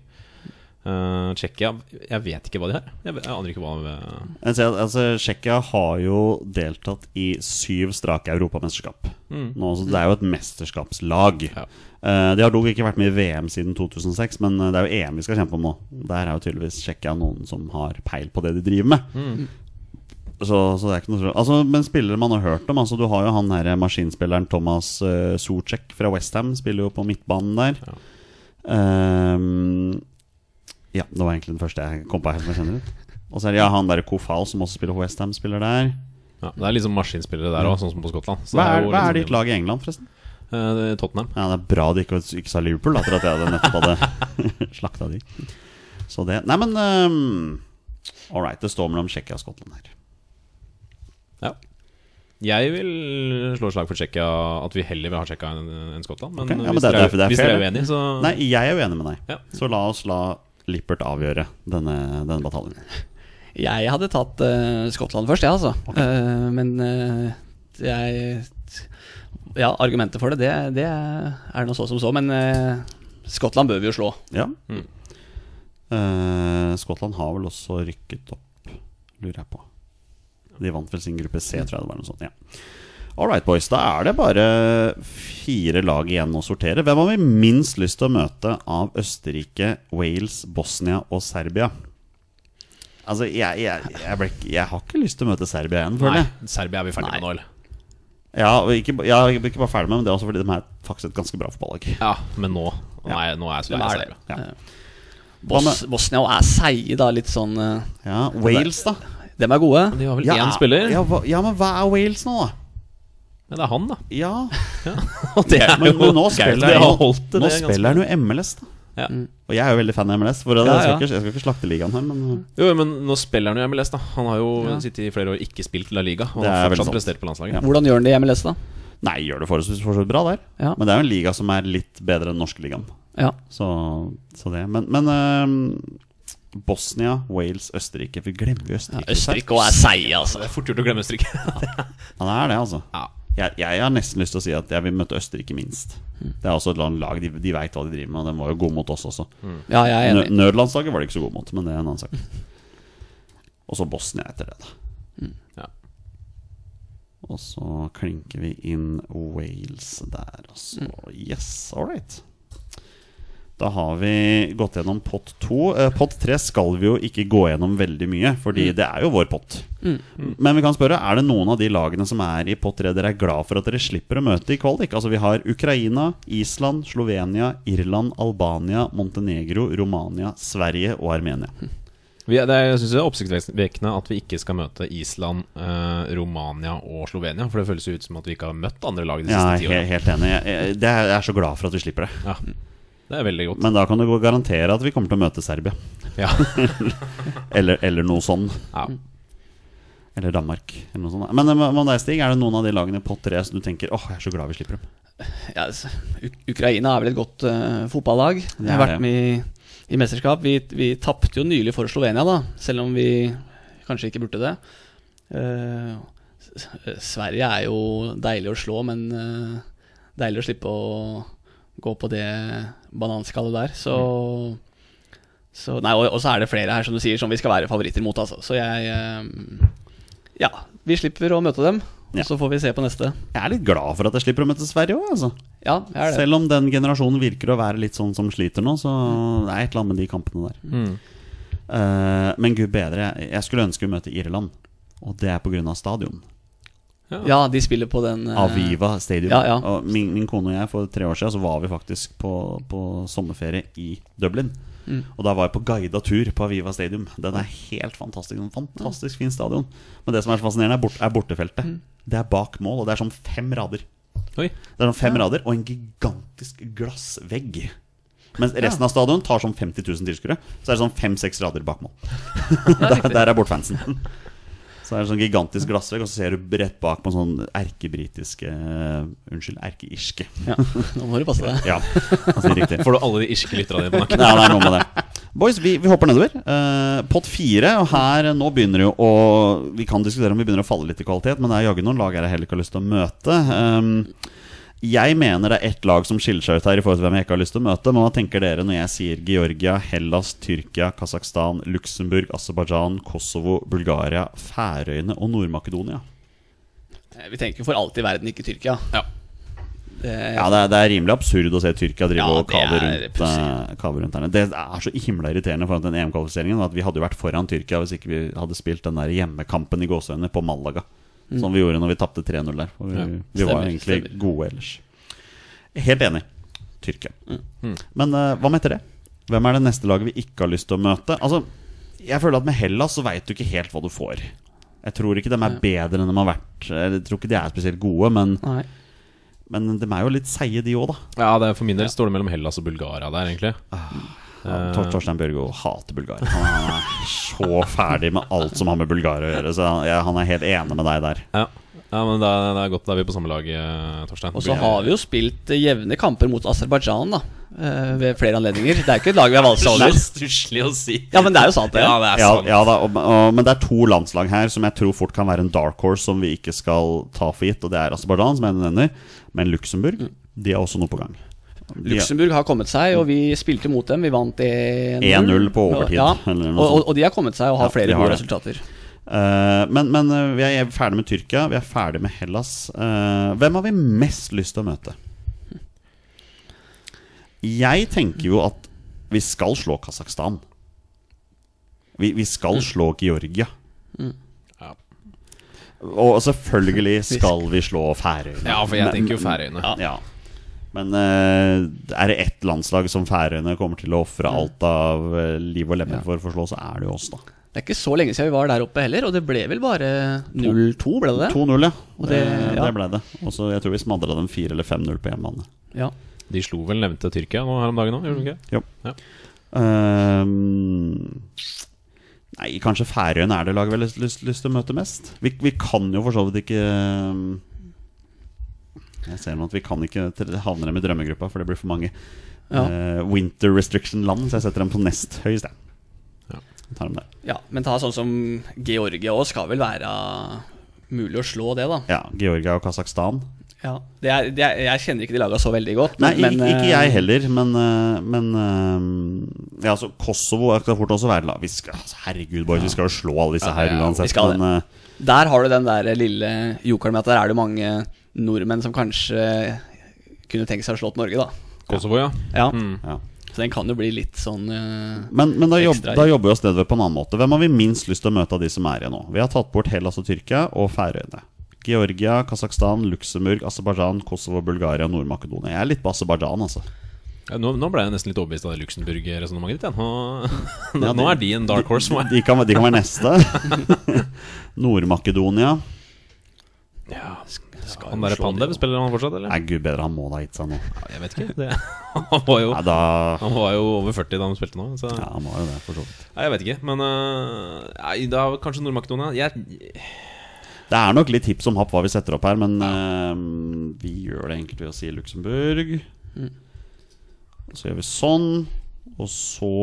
Speaker 1: Uh, Tsjekkia Jeg vet ikke hva de har. Jeg, vet, jeg aner ikke hva eh, de
Speaker 2: Jeg ser, at- altså, Tsjekkia har jo deltatt i syv strake europamesterskap. Nå, så det er jo et mesterskapslag.
Speaker 1: Ja.
Speaker 2: Eh, de har dog ikke vært med i VM siden 2006, men eh, det er jo EM vi skal kjempe om nå. Der er jo tydeligvis Tsjekkia noen som har peil på det de driver med.
Speaker 1: Mm.
Speaker 2: Så, så det er ikke noe tro- altså, Men spillere man har hørt om altså, Du har jo han her maskinspilleren Thomas uh, Sorcek fra Westham. Spiller jo på midtbanen der. Ja. Ja, det var egentlig den første jeg kom på her som jeg kjenner ut. Og så er det ja, han der Kofal som også spiller Westham, spiller der.
Speaker 1: ja, Det er liksom maskinspillere der òg, sånn som på Skottland. Så
Speaker 2: Hva
Speaker 1: det
Speaker 2: er,
Speaker 1: jo
Speaker 2: hva
Speaker 1: liksom-
Speaker 2: er ditt lag i England, forresten?
Speaker 1: Eh, det er Tottenham.
Speaker 2: Ja, Det er bra de ikke, ikke sa Liverpool, da, etter at jeg hadde nettopp hadde slakta de. Så det Nei, men um, all right. Det står mellom Tsjekkia og Skottland her.
Speaker 1: Ja. Jeg vil slå slag for Tsjekkia, at vi heller vil ha Tsjekkia enn enn Skottland. Men,
Speaker 2: Ok, ja, men
Speaker 1: hvis
Speaker 2: det er
Speaker 1: dere er,
Speaker 2: derfor det er
Speaker 1: hvis
Speaker 2: fair,
Speaker 1: dere er
Speaker 2: det.
Speaker 1: uenige, så
Speaker 2: Nei, jeg er uenig med deg.
Speaker 1: Ja.
Speaker 2: Så la oss la Lippert avgjøre denne, denne bataljen.
Speaker 3: Jeg hadde tatt eh, Skottland først, jeg, altså. Eh, men eh, jeg Ja, argumentet for det, det, det er nå så som så, men eh, Skottland bør vi jo slå.
Speaker 2: Ja.
Speaker 1: Mm.
Speaker 2: Eh, Skottland har vel også rykket opp, lurer jeg på. De vant vel sin gruppe C, tror jeg det var. Noe sånt, ja. All right, boys. Da er det bare fire lag igjen å sortere. Hvem har vi minst lyst til å møte av Østerrike, Wales, Bosnia og Serbia? Altså, jeg, jeg, jeg, ble, ikke- jeg har ikke lyst til å møte Serbia igjen, føler
Speaker 1: Nei,
Speaker 2: jeg.
Speaker 1: Serbia er vi ferdig med nå, eller?
Speaker 2: Ja, og ikke, ba- ja, jeg blir ikke bare ferdig med men det er også fordi de er faktisk et ganske bra fotballag.
Speaker 1: Ja, men nå Nei, nå er jeg så lei
Speaker 3: Hvem
Speaker 1: av
Speaker 3: er det?
Speaker 1: Serbia.
Speaker 2: Ja.
Speaker 3: Bos Bosnia og er seige, da. Litt sånn eh,
Speaker 2: Ja, Wales, da.
Speaker 3: Dem er gode.
Speaker 1: De har vel
Speaker 2: Ja,
Speaker 1: én spiller?
Speaker 2: Ja, hva, ja, men hva er Wales nå, da?
Speaker 1: Ja, det er han, da.
Speaker 2: Ja,
Speaker 1: Og det er
Speaker 2: men, men nå spiller
Speaker 1: jeg
Speaker 2: han
Speaker 1: har
Speaker 2: jo
Speaker 1: holdt det,
Speaker 2: Nå
Speaker 1: det er ganske-
Speaker 2: spiller han jo MLS, da.
Speaker 1: ja.
Speaker 2: Og jeg er jo veldig fan av MLS. For jeg,
Speaker 3: Ja,
Speaker 2: skal
Speaker 3: ja.
Speaker 2: ikke, jeg skal ikke slakte ligaen her, men
Speaker 1: Jo, jo, men nå spiller han jo i MLS, da. Han har jo sittet i flere år ikke spilt La Liga. Og
Speaker 2: Det
Speaker 1: har
Speaker 2: er veldig
Speaker 1: fortsatt
Speaker 2: sant.
Speaker 1: prestert på landslaget.
Speaker 2: Ja.
Speaker 3: Hvordan gjør han det i MLS, da?
Speaker 2: Nei, gjør det forholdsvis for så vidt bra der.
Speaker 3: Ja.
Speaker 2: Men det er jo en liga som er litt bedre enn norske ligaen.
Speaker 3: Ja.
Speaker 2: Så, så det Men, men øhm, Bosnia, Wales, Østerrike Vi glemmer jo Østerrike.
Speaker 3: Østerrike og er seige,
Speaker 1: Det
Speaker 3: altså.
Speaker 1: er fort gjort å glemme Østerrike.
Speaker 2: Ja, det er det, altså.
Speaker 1: Ja.
Speaker 2: Jeg, jeg har nesten lyst til å si at jeg vil møte Østerrike minst. Det er også et land- lag, de, de veit hva de driver med, og de var jo gode mot oss også.
Speaker 3: Ja, jeg er
Speaker 2: Nø-
Speaker 3: enig.
Speaker 2: Nødlandslaget var de ikke så gode mot, men det er en annen sak. Og så Bosnia etter det, da.
Speaker 3: Mm.
Speaker 1: Ja.
Speaker 2: Og så klinker vi inn Wales der, altså.
Speaker 3: Mm.
Speaker 2: Yes, all right. Da har vi gått gjennom pott to. Eh, Pott tre skal vi jo ikke gå gjennom veldig mye, fordi
Speaker 3: Mm.
Speaker 2: det er jo vår pott. Men vi kan spørre, er det noen av de lagene som er i pott tre dere er glad for at dere slipper å møte i kvalik? Altså vi har Ukraina, Island, Slovenia, Irland, Albania, Montenegro, Romania, Sverige og Armenia.
Speaker 1: Vi, er- det er, jeg synes det er oppsiktsvekkende at vi ikke skal møte Island, eh, Romania og Slovenia. For det føles jo ut som at vi ikke har møtt andre lag de
Speaker 2: Ja,
Speaker 1: siste ti
Speaker 2: jeg er
Speaker 1: årene.
Speaker 2: he- helt enig. Jeg, jeg, det er, jeg er så glad for at vi slipper det.
Speaker 1: Ja, det er veldig godt.
Speaker 2: Men da kan du gå- garantere at vi kommer til å møte Serbia.
Speaker 1: Ja.
Speaker 2: Eller, eller noe sånn.
Speaker 1: Ja.
Speaker 2: Eller Danmark. Eller noe sånt. Men eh, med med deg, Stig, er det noen av de lagene i pott tre som du tenker åh, jeg er så glad vi slipper dem?
Speaker 3: Ja, altså, Uk- Ukraina er vel et godt eh, fotballag.
Speaker 2: Det
Speaker 3: De har
Speaker 2: er
Speaker 3: vært
Speaker 2: det.
Speaker 3: med i, i mesterskap. Vi, vi tapte jo nylig for Slovenia, da, selv om vi kanskje ikke burde det. Eh, S- S- Sverige er jo deilig å slå, men eh, deilig å slippe å gå på det bananskallet der. Så, så Nei, og, og så er det flere her, som du sier, som vi skal være favoritter mot, altså. Så jeg eh, Ja, vi slipper å møte dem.
Speaker 2: Ja.
Speaker 3: Og så får vi se på neste.
Speaker 2: Jeg er litt glad for at jeg slipper å møte Sverige òg, altså.
Speaker 3: Ja, jeg er det.
Speaker 2: Selv om den generasjonen virker å være litt sånn som sliter nå, så
Speaker 3: Mm.
Speaker 2: det er et eller annet med de kampene der.
Speaker 1: Mm.
Speaker 2: Eh, men gud bedre, jeg- jeg skulle ønske vi møtte Irland. Og det er pga. stadion.
Speaker 3: Ja, de spiller på den eh,
Speaker 2: Aviva Stadium.
Speaker 3: ja, ja.
Speaker 2: Og min, min kone og jeg for tre år siden så var vi faktisk på, på sommerferie i Dublin.
Speaker 3: Mm.
Speaker 2: Og da var jeg på guida tur på Aviva Stadium. Den er helt fantastisk. En fantastisk fin stadion. Men det som er så fascinerende, er, bort, er bortefeltet.
Speaker 3: Mm.
Speaker 2: Det er bak mål, og det er sånn fem rader.
Speaker 1: Oi.
Speaker 2: Det er sånn fem rader og en gigantisk glassvegg. Mens resten av stadion tar sånn 50 000 tilskuere. Så er det sånn fem-seks rader bak mål. der, der er bortfansen. Så er det sånn gigantisk glassvegg, og så ser du rett bak på sånn erkebritiske eh, Unnskyld, erkeirske.
Speaker 3: Ja, nå må du passe deg.
Speaker 2: Ja, altså riktig.
Speaker 1: Får du alle de irske lytterne dine på nakken?
Speaker 2: Ja, det er noe med det. Boys, vi, vi hopper nedover. Eh, pott fire, og her eh, nå begynner det jo å Vi kan diskutere om vi begynner å falle litt i kvalitet, men det er jaggu noen lag her jeg heller ikke har lyst til å møte. Ehm, jeg mener det er ett lag som skiller seg ut her i forhold til hvem jeg ikke har lyst til å møte. Men hva tenker dere når jeg sier Georgia, Hellas, Tyrkia, Kasakhstan, Luxembourg, Aserbajdsjan, Kosovo, Bulgaria, Færøyene og Nord-Makedonia?
Speaker 3: Eh, Vi tenker for alt i verden ikke Tyrkia.
Speaker 1: Ja.
Speaker 3: Det,
Speaker 2: Ja, det er, det er rimelig absurd å se Tyrkia drive
Speaker 3: Ja,
Speaker 2: og kave
Speaker 3: det er
Speaker 2: rundt, eh, kave rundt her. Det er så himla irriterende foran den EM-kvalifiseringen at vi hadde jo vært foran Tyrkia hvis ikke vi hadde spilt den der hjemmekampen i gåseøynene på Malaga. Som vi gjorde når vi tapte 3-0 der. For vi,
Speaker 1: Ja,
Speaker 2: vi var
Speaker 3: Mm. stemmer,
Speaker 2: jo egentlig
Speaker 3: stemmer.
Speaker 2: gode ellers. Helt enig. Tyrkia.
Speaker 3: Mm.
Speaker 2: Men eh, hva med etter det? Hvem er det neste laget vi ikke har lyst til å møte? Altså, jeg føler at med Hellas så veit du ikke helt hva du får. Jeg tror ikke de er bedre enn de har vært. Jeg tror ikke de er spesielt gode, men,
Speaker 3: Nei.
Speaker 2: men de er jo litt seige, de òg, da.
Speaker 1: Ja, det er, For min del står det mellom Hellas og Bulgaria der, egentlig.
Speaker 2: Ja, Tor Torstein Børgo hater Bulgaria. Han er så ferdig med alt som har med Bulgaria å gjøre. Så han, jeg, han er helt enig med deg der.
Speaker 1: Ja, ja men det er, det er godt da er vi på samme lag, eh, Torstein.
Speaker 3: Og så har vi jo spilt eh, jevne kamper mot Aserbajdsjan da, eh, ved flere anledninger. Det er ikke et lag vi har valgt over.
Speaker 1: stusslig å si.
Speaker 3: Ja, men det er jo sant, det.
Speaker 1: Ja, det er
Speaker 2: Ja,
Speaker 1: sant.
Speaker 2: ja da, og, og, men det er to landslag her som jeg tror fort kan være en dark horse som vi ikke skal ta for gitt. Og det er Aserbajdsjan, som jeg nevner. Men Luxembourg de er også noe på gang. De er-
Speaker 3: Luxembourg har kommet seg, og vi spilte mot dem. Vi vant 1-0.
Speaker 2: 1-0 på overtid,
Speaker 3: Ja,
Speaker 2: eller
Speaker 3: og,
Speaker 2: noe
Speaker 3: og,
Speaker 2: sånt.
Speaker 3: og de har kommet seg og
Speaker 2: Ja,
Speaker 3: har
Speaker 2: de
Speaker 3: flere
Speaker 2: har
Speaker 3: gode
Speaker 2: det.
Speaker 3: resultater.
Speaker 2: Eh, men, men eh, vi er ferdig med Tyrkia, vi er ferdig med Hellas. Eh, hvem har vi mest lyst til å møte? Jeg tenker jo at vi skal slå Kasakhstan. Vi, vi skal slå Georgia. Mm.
Speaker 1: Ja.
Speaker 2: Og selvfølgelig skal vi slå Færøyene.
Speaker 1: Ja, for jeg tenker jo Færøyene.
Speaker 2: Ja. ja. Men eh, er det ett landslag som Færøyene kommer til å ofre alt av eh, liv og lemmer for for å slå, så er det jo oss, da.
Speaker 3: Det er ikke så lenge siden vi var der oppe heller, og det ble vel bare 0-2, ble det det?
Speaker 2: 2-0, ja.
Speaker 3: Og
Speaker 2: det,
Speaker 3: det-
Speaker 2: det,
Speaker 3: ja.
Speaker 2: ble det. Og så jeg tror vi smadra dem 4 eller 5-0 på hjemmebane.
Speaker 3: Ja.
Speaker 1: De slo vel nevnte Tyrkia nå her om dagen òg, gjorde de ikke?
Speaker 2: Jo.
Speaker 1: Ja.
Speaker 2: Ehm, nei, kanskje Færøyene er det laget vi har lyst, lyst, lyst til å møte mest. Vi, vi kan jo for så vidt ikke ehm, Jeg ser nå at vi kan ikke tre- havne dem i drømmegruppa, for det blir for mange
Speaker 3: Ja.
Speaker 2: eh, winter restriction-land, så jeg setter dem på nest høyest. jeg.
Speaker 1: Ja.
Speaker 2: Jeg Tar dem der.
Speaker 3: ja, men ta sånn som Georgia òg, skal vel være mulig å slå det, da.
Speaker 2: Ja, Georgia og Kasakhstan.
Speaker 3: Ja, det er, det er, Jeg kjenner ikke de laga så veldig godt.
Speaker 2: Nei,
Speaker 3: men-
Speaker 2: ikke, ikke
Speaker 3: eh,
Speaker 2: jeg heller, men, eh, men eh, ja, altså, Kosovo skal fort også være la- vi skal, altså, Herregud, boys, vi skal jo slå alle disse her
Speaker 1: ja, vi
Speaker 2: uansett.
Speaker 3: skal det.
Speaker 2: men, eh,
Speaker 3: Der har du den der lille jokeren med at der er det mange nordmenn som kanskje kunne tenke seg å slått Norge, da.
Speaker 1: Kosovo, ja.
Speaker 3: Ja,
Speaker 2: eh, ja.
Speaker 3: Så den kan jo bli litt sånn eh,
Speaker 2: men, men da, jobb,
Speaker 3: Ekstra, ja.
Speaker 2: da jobber vi oss nedover på en annen måte. Hvem har vi minst lyst til å møte av de som er igjen nå? Vi har tatt bort Hellas og Tyrkia og Færøyene. Georgia, Kasakhstan, Luxembourg, Aserbajdsjan, Kosovo, Bulgaria og Nord-Makedonia. Jeg er litt på Aserbajdsjan, altså.
Speaker 1: Ja, nå, nå ble jeg nesten litt overbevist av det Luxembourg-resonnementet ditt. Ja. Nå,
Speaker 2: Ja,
Speaker 1: nå er de en dark horse. må jeg-
Speaker 2: De kan, de kan være neste. Nord-Makedonia.
Speaker 1: Ja, skal han der Pandev spiller han fortsatt, eller?
Speaker 2: Nei, gud bedre, han må da gitt seg nå.
Speaker 1: Ja, jeg vet ikke. Det, han, var jo,
Speaker 2: Nei, da
Speaker 1: han var jo over 40 da han spilte nå. Så.
Speaker 2: Ja, han var jo det, for så vidt.
Speaker 1: Nei, jeg vet ikke. Men øh, nei, da kanskje Nord-Makedonia. Jeg,
Speaker 2: Det er nok litt hipp som happ hva vi setter opp her, men eh, vi gjør det enkelt ved å si Luxembourg.
Speaker 3: Mm.
Speaker 2: Så gjør vi sånn, og så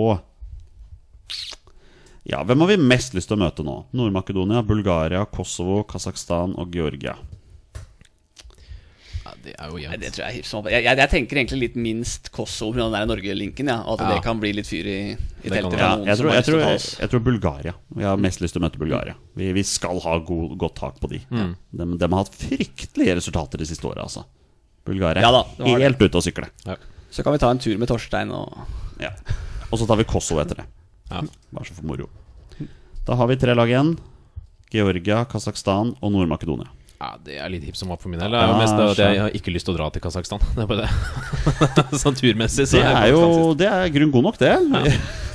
Speaker 2: Ja, hvem har vi mest lyst til å møte nå? Nord-Makedonia, Bulgaria, Kosovo, Kasakhstan og Georgia.
Speaker 1: ja, det er jo
Speaker 3: Nei, det
Speaker 1: jevnt.
Speaker 3: tror jeg er hipp som happ. jeg, jeg, jeg tenker egentlig litt minst Kosovo pga. den der Norge-linken. Ja, at
Speaker 1: Ja.
Speaker 3: det kan bli litt fyr i, i
Speaker 1: Det kan
Speaker 3: teltet.
Speaker 1: det.
Speaker 3: fra
Speaker 2: Ja,
Speaker 3: noen
Speaker 2: jeg
Speaker 3: som
Speaker 2: tror,
Speaker 3: har
Speaker 2: jeg,
Speaker 3: lyst til
Speaker 2: tror,
Speaker 3: å ta
Speaker 2: jeg,
Speaker 3: oss. Mm.
Speaker 2: tror Bulgaria. Jeg har mest lyst til å møte Bulgaria. Vi, vi skal ha god, godt tak på de. de. De har hatt fryktelige resultater de siste åra, altså. Bulgaria
Speaker 3: Ja da, det har
Speaker 2: er
Speaker 3: det.
Speaker 2: helt ute å sykle.
Speaker 1: Ja.
Speaker 3: Så kan vi ta en tur med Torstein og
Speaker 2: Ja. Og så tar vi Kosovo etter det.
Speaker 1: Ja.
Speaker 2: Bare så for moro. Da har vi tre lag igjen. Georgia, Kasakhstan og Nord-Makedonia.
Speaker 1: Ja, det er litt hipp som var på min del. Det er jo
Speaker 2: Ja,
Speaker 1: mest det at
Speaker 2: skjønner.
Speaker 1: jeg har ikke lyst til å dra til Kasakhstan. Det er bare det. sånn turmessig. Så
Speaker 2: Det er jo det er grunn god nok, det.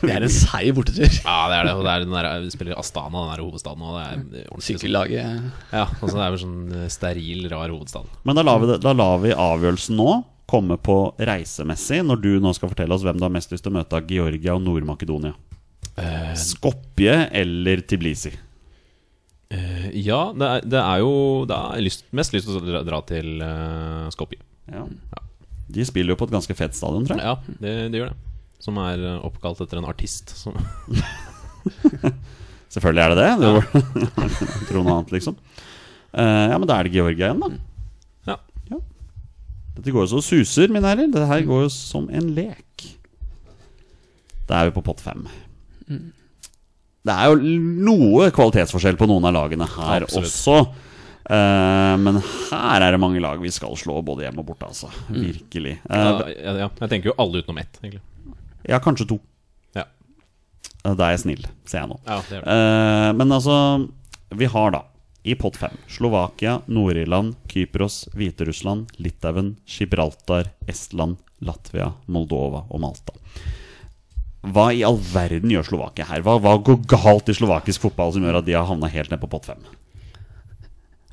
Speaker 3: Det er en seig bortetur.
Speaker 1: Ja, det er det. Og det er den der, vi spiller Astana, den der hovedstaden. Og det er ordentlig sånn-
Speaker 3: Sykkellaget
Speaker 1: Ja, og så det er jo sånn eh, steril, rar hovedstad.
Speaker 2: Men da lar, vi, det- da lar vi avgjørelsen nå komme på reisemessig, når du nå skal fortelle oss hvem du har mest lyst til å møte av Georgia og Nord-Makedonia. Eh. Skopje eller Tiblisi? Eh,
Speaker 1: Ja, det er, det er jo Det er lyst, mest lyst til å dra, dra til eh, Skopje.
Speaker 2: Mm. Ja. De spiller jo på et ganske fett stadion, tror jeg.
Speaker 1: Ja, det, det gjør det. Som er eh, oppkalt etter en artist. Som,
Speaker 2: Selvfølgelig er det det. det var, tror noe annet, liksom. Eh, ja, men da er det Georgia igjen, da.
Speaker 1: ja.
Speaker 2: Dette går jo så suser, mine herrer. Dette
Speaker 1: Mm.
Speaker 2: her går jo som en lek. Da er vi på pott fem.
Speaker 1: Mm.
Speaker 2: Det er jo noe kvalitetsforskjell på noen av lagene her
Speaker 1: Absolutt.
Speaker 2: også. Eh, men her er det mange lag vi skal slå, både hjemme og borte, altså. Virkelig.
Speaker 1: Mm. Ja,
Speaker 2: Eh,
Speaker 1: ja, ja. Jeg tenker jo alle utenom ett, egentlig.
Speaker 2: ja, kanskje to.
Speaker 1: Ja,
Speaker 2: Eh, Da er jeg snill, ser jeg nå.
Speaker 1: ja det gjør det.
Speaker 2: Eh, men altså Vi har da i pott fem Slovakia, Nord-Irland, Kypros, Hviterussland, Litauen, Gibraltar, Estland, Latvia, Moldova og Malta. Hva i all verden gjør Slovakia her? Hva, hva går galt i slovakisk fotball som gjør at de har havna helt ned på pott fem?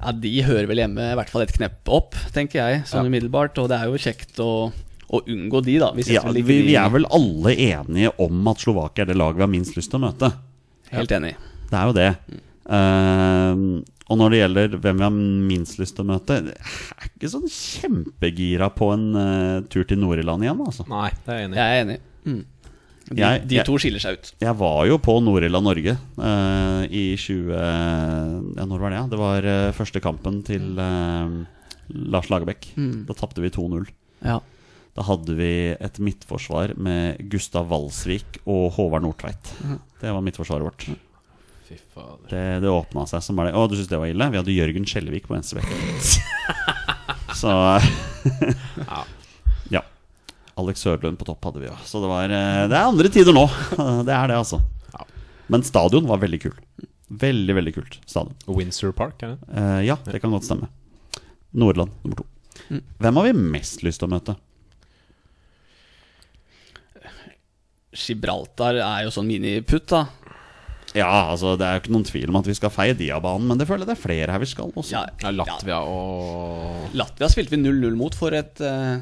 Speaker 3: Ja, de hører vel hjemme i hvert fall et knepp opp, tenker jeg, sånn umiddelbart. Og det er jo kjekt å, å unngå de, da. Hvis jeg
Speaker 2: Ja, vi,
Speaker 3: skulle
Speaker 2: vi
Speaker 3: ligge de-
Speaker 2: er vel alle enige om at Slovakia er det laget vi har minst lyst til å møte.
Speaker 3: Helt enig.
Speaker 2: Det er jo det. Ehm, og når det gjelder hvem vi har minst lyst til å møte Jeg er ikke sånn kjempegira på en eh, tur til Nord-Irland igjen, altså.
Speaker 1: Nei, det er jeg enig i.
Speaker 3: Jeg er enig. Mm. De,
Speaker 2: Jeg-
Speaker 3: de
Speaker 2: jeg-
Speaker 3: to skiller seg ut.
Speaker 2: Jeg var jo på Nord-Irland Norge eh, i 20... Ja, når var det? Det var eh, første kampen til eh, Lars Lagerbäck. Da tapte vi 2-0.
Speaker 3: Ja.
Speaker 2: Da hadde vi et midtforsvar med Gustav Valsvik og Håvard Nordtveit. Det var midtforsvaret vårt.
Speaker 1: Fy fader.
Speaker 2: Det, det åpna seg som bare Å, du syns det var ille? Vi hadde Jørgen Skjelvik på venstre bekk. Så eh,
Speaker 1: Ja.
Speaker 2: Ja. Alex Sørlund på topp hadde vi jo. Så det var eh, Det er andre tider nå. Det er det, altså.
Speaker 1: Ja.
Speaker 2: Men stadion var veldig kul. Veldig, veldig kult stadion.
Speaker 1: Windsor Park, er det?
Speaker 2: Eh, ja, det kan godt stemme. Nordland nummer to.
Speaker 1: Mm.
Speaker 2: Hvem har vi mest lyst til å møte?
Speaker 3: Gibraltar er jo sånn miniputt, da.
Speaker 2: Ja, altså Det er jo ikke noen tvil om at vi skal feie Diabanen, men det føler jeg det er flere her vi skal også.
Speaker 3: Ja,
Speaker 1: Ja, Latvia og
Speaker 3: Latvia spilte vi 0-0 mot for et eh,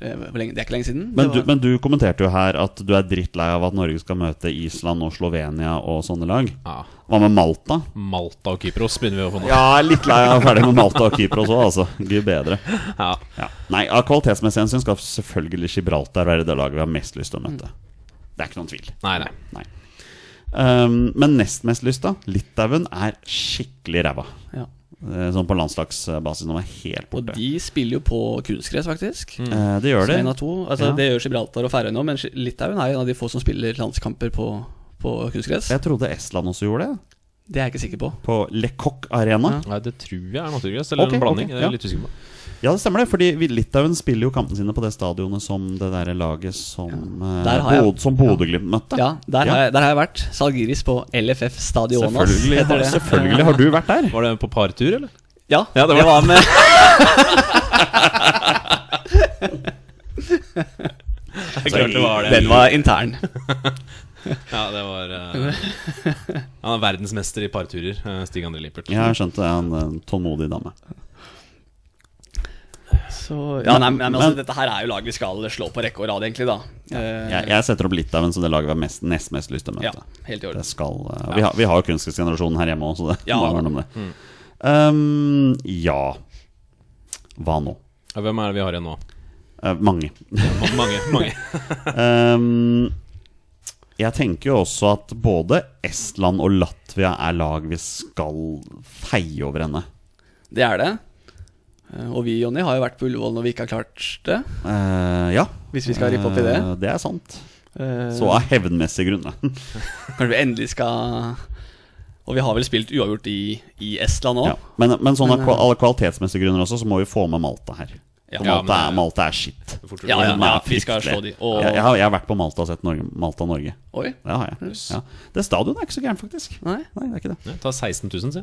Speaker 3: hvor lenge, Det er ikke lenge siden.
Speaker 2: Men
Speaker 3: Det
Speaker 2: du,
Speaker 3: var-
Speaker 2: men du kommenterte jo her at du er drittlei av at Norge skal møte Island og Slovenia og sånne lag.
Speaker 1: ja,
Speaker 2: Hva med Malta?
Speaker 1: Malta og Kypros begynner vi å få nå.
Speaker 2: Ja, litt lei av å være ferdig med Malta og Kypros òg, altså. Gud bedre.
Speaker 1: Ja.
Speaker 2: Ja. Nei, av kvalitetsmessig hensyn skal selvfølgelig Gibraltar være det laget vi har mest lyst til å møte. Det er ikke noen tvil.
Speaker 1: Nei, nei.
Speaker 2: Nei. Um, men nest mest lyst, da? Litauen er skikkelig ræva.
Speaker 3: ja.
Speaker 2: Eh, Sånn på landslagsbasis. De er helt
Speaker 3: Og
Speaker 2: borte.
Speaker 3: de spiller jo på kunstgress, faktisk.
Speaker 2: Eh, det gjør
Speaker 3: Som
Speaker 2: det.
Speaker 3: en av to. Altså,
Speaker 2: Ja.
Speaker 3: Det gjør Gibraltar og Færøyene òg, men Gi- Litauen er en av de få som spiller landskamper på, på kunstgress.
Speaker 2: Jeg trodde Estland også gjorde det.
Speaker 3: Det er jeg ikke sikker på.
Speaker 2: På Lecoq Arena.
Speaker 1: Nei, det tror jeg er naturgress, eller
Speaker 2: Ok,
Speaker 1: en blanding.
Speaker 2: ok,
Speaker 1: Jeg
Speaker 2: ja.
Speaker 1: er litt usikker på.
Speaker 2: Ja, det stemmer det. Fordi vi- Litauen spiller jo kampene sine på det stadionet som det derre laget som eh,
Speaker 3: Der har jeg-
Speaker 2: Bod- Som Bodø-Glimt møtte.
Speaker 3: Ja, der,
Speaker 2: Ja.
Speaker 3: Har jeg, der har jeg vært. Salgiris på LFF Stadionas.
Speaker 2: Selvfølgelig,
Speaker 3: heter
Speaker 2: har,
Speaker 3: det.
Speaker 2: selvfølgelig har du vært der.
Speaker 1: Var det på partur, eller?
Speaker 3: Ja,
Speaker 1: Ja, det
Speaker 3: det
Speaker 1: var-
Speaker 3: var, med
Speaker 1: er klart det var det.
Speaker 3: Den var intern.
Speaker 1: Ja, det var eh, Han er verdensmester i parturer, eh, Stig André Lippert.
Speaker 2: Jeg har skjønt det er en eh, tålmodig dame.
Speaker 3: Så, ja, nei, men, altså,
Speaker 2: Men-
Speaker 3: dette her er jo lag vi skal slå på rekke og rad, egentlig, da. Eh,
Speaker 2: Jeg, jeg setter opp Litauen som det laget vi har mest, nest mest lyst til å
Speaker 3: ja,
Speaker 2: møte.
Speaker 3: helt i orden.
Speaker 2: Det skal, eh, og vi, har, vi har jo kunstgressgenerasjonen her hjemme også, så det
Speaker 3: Ja. Mm.
Speaker 2: må være noe med det. Um, ja Hva nå?
Speaker 1: Ja, Hvem er det vi har igjen nå?
Speaker 2: Eh, mange.
Speaker 1: Ma- Mange. mange
Speaker 2: Ehm, jeg tenker jo også at både Estland og Latvia er lag vi skal feie over ende.
Speaker 3: Det er det. Eh, Og vi, Jonny, har jo vært på Ullevål når vi ikke har klart det.
Speaker 2: Eh, ja.
Speaker 3: Hvis vi skal rippe opp i det.
Speaker 2: Eh, det er sant.
Speaker 3: Eh,
Speaker 2: Så av hevnmessige grunner.
Speaker 3: Kanskje vi endelig skal Og vi har vel spilt uavgjort i, i Estland òg.
Speaker 2: ja. Men, men sånn av kva- alle kvalitetsmessige grunner også, så må vi få med Malta her. For
Speaker 1: Ja,
Speaker 2: Malta,
Speaker 1: men-
Speaker 2: er, Malta er shit.
Speaker 1: Fort
Speaker 3: Ja, eh, ja,
Speaker 2: Den er
Speaker 3: ja, vi skal
Speaker 2: fryktelig.
Speaker 3: slå de. Og,
Speaker 2: jeg, jeg, har, jeg har vært på Malta og sett Norge, Malta-Norge.
Speaker 3: Oi.
Speaker 2: Det har jeg. Ja. Det stadionet er ikke så gærent, faktisk.
Speaker 3: Nei.
Speaker 2: Nei, det er ikke det.
Speaker 1: Ja, Ta 16 000, si.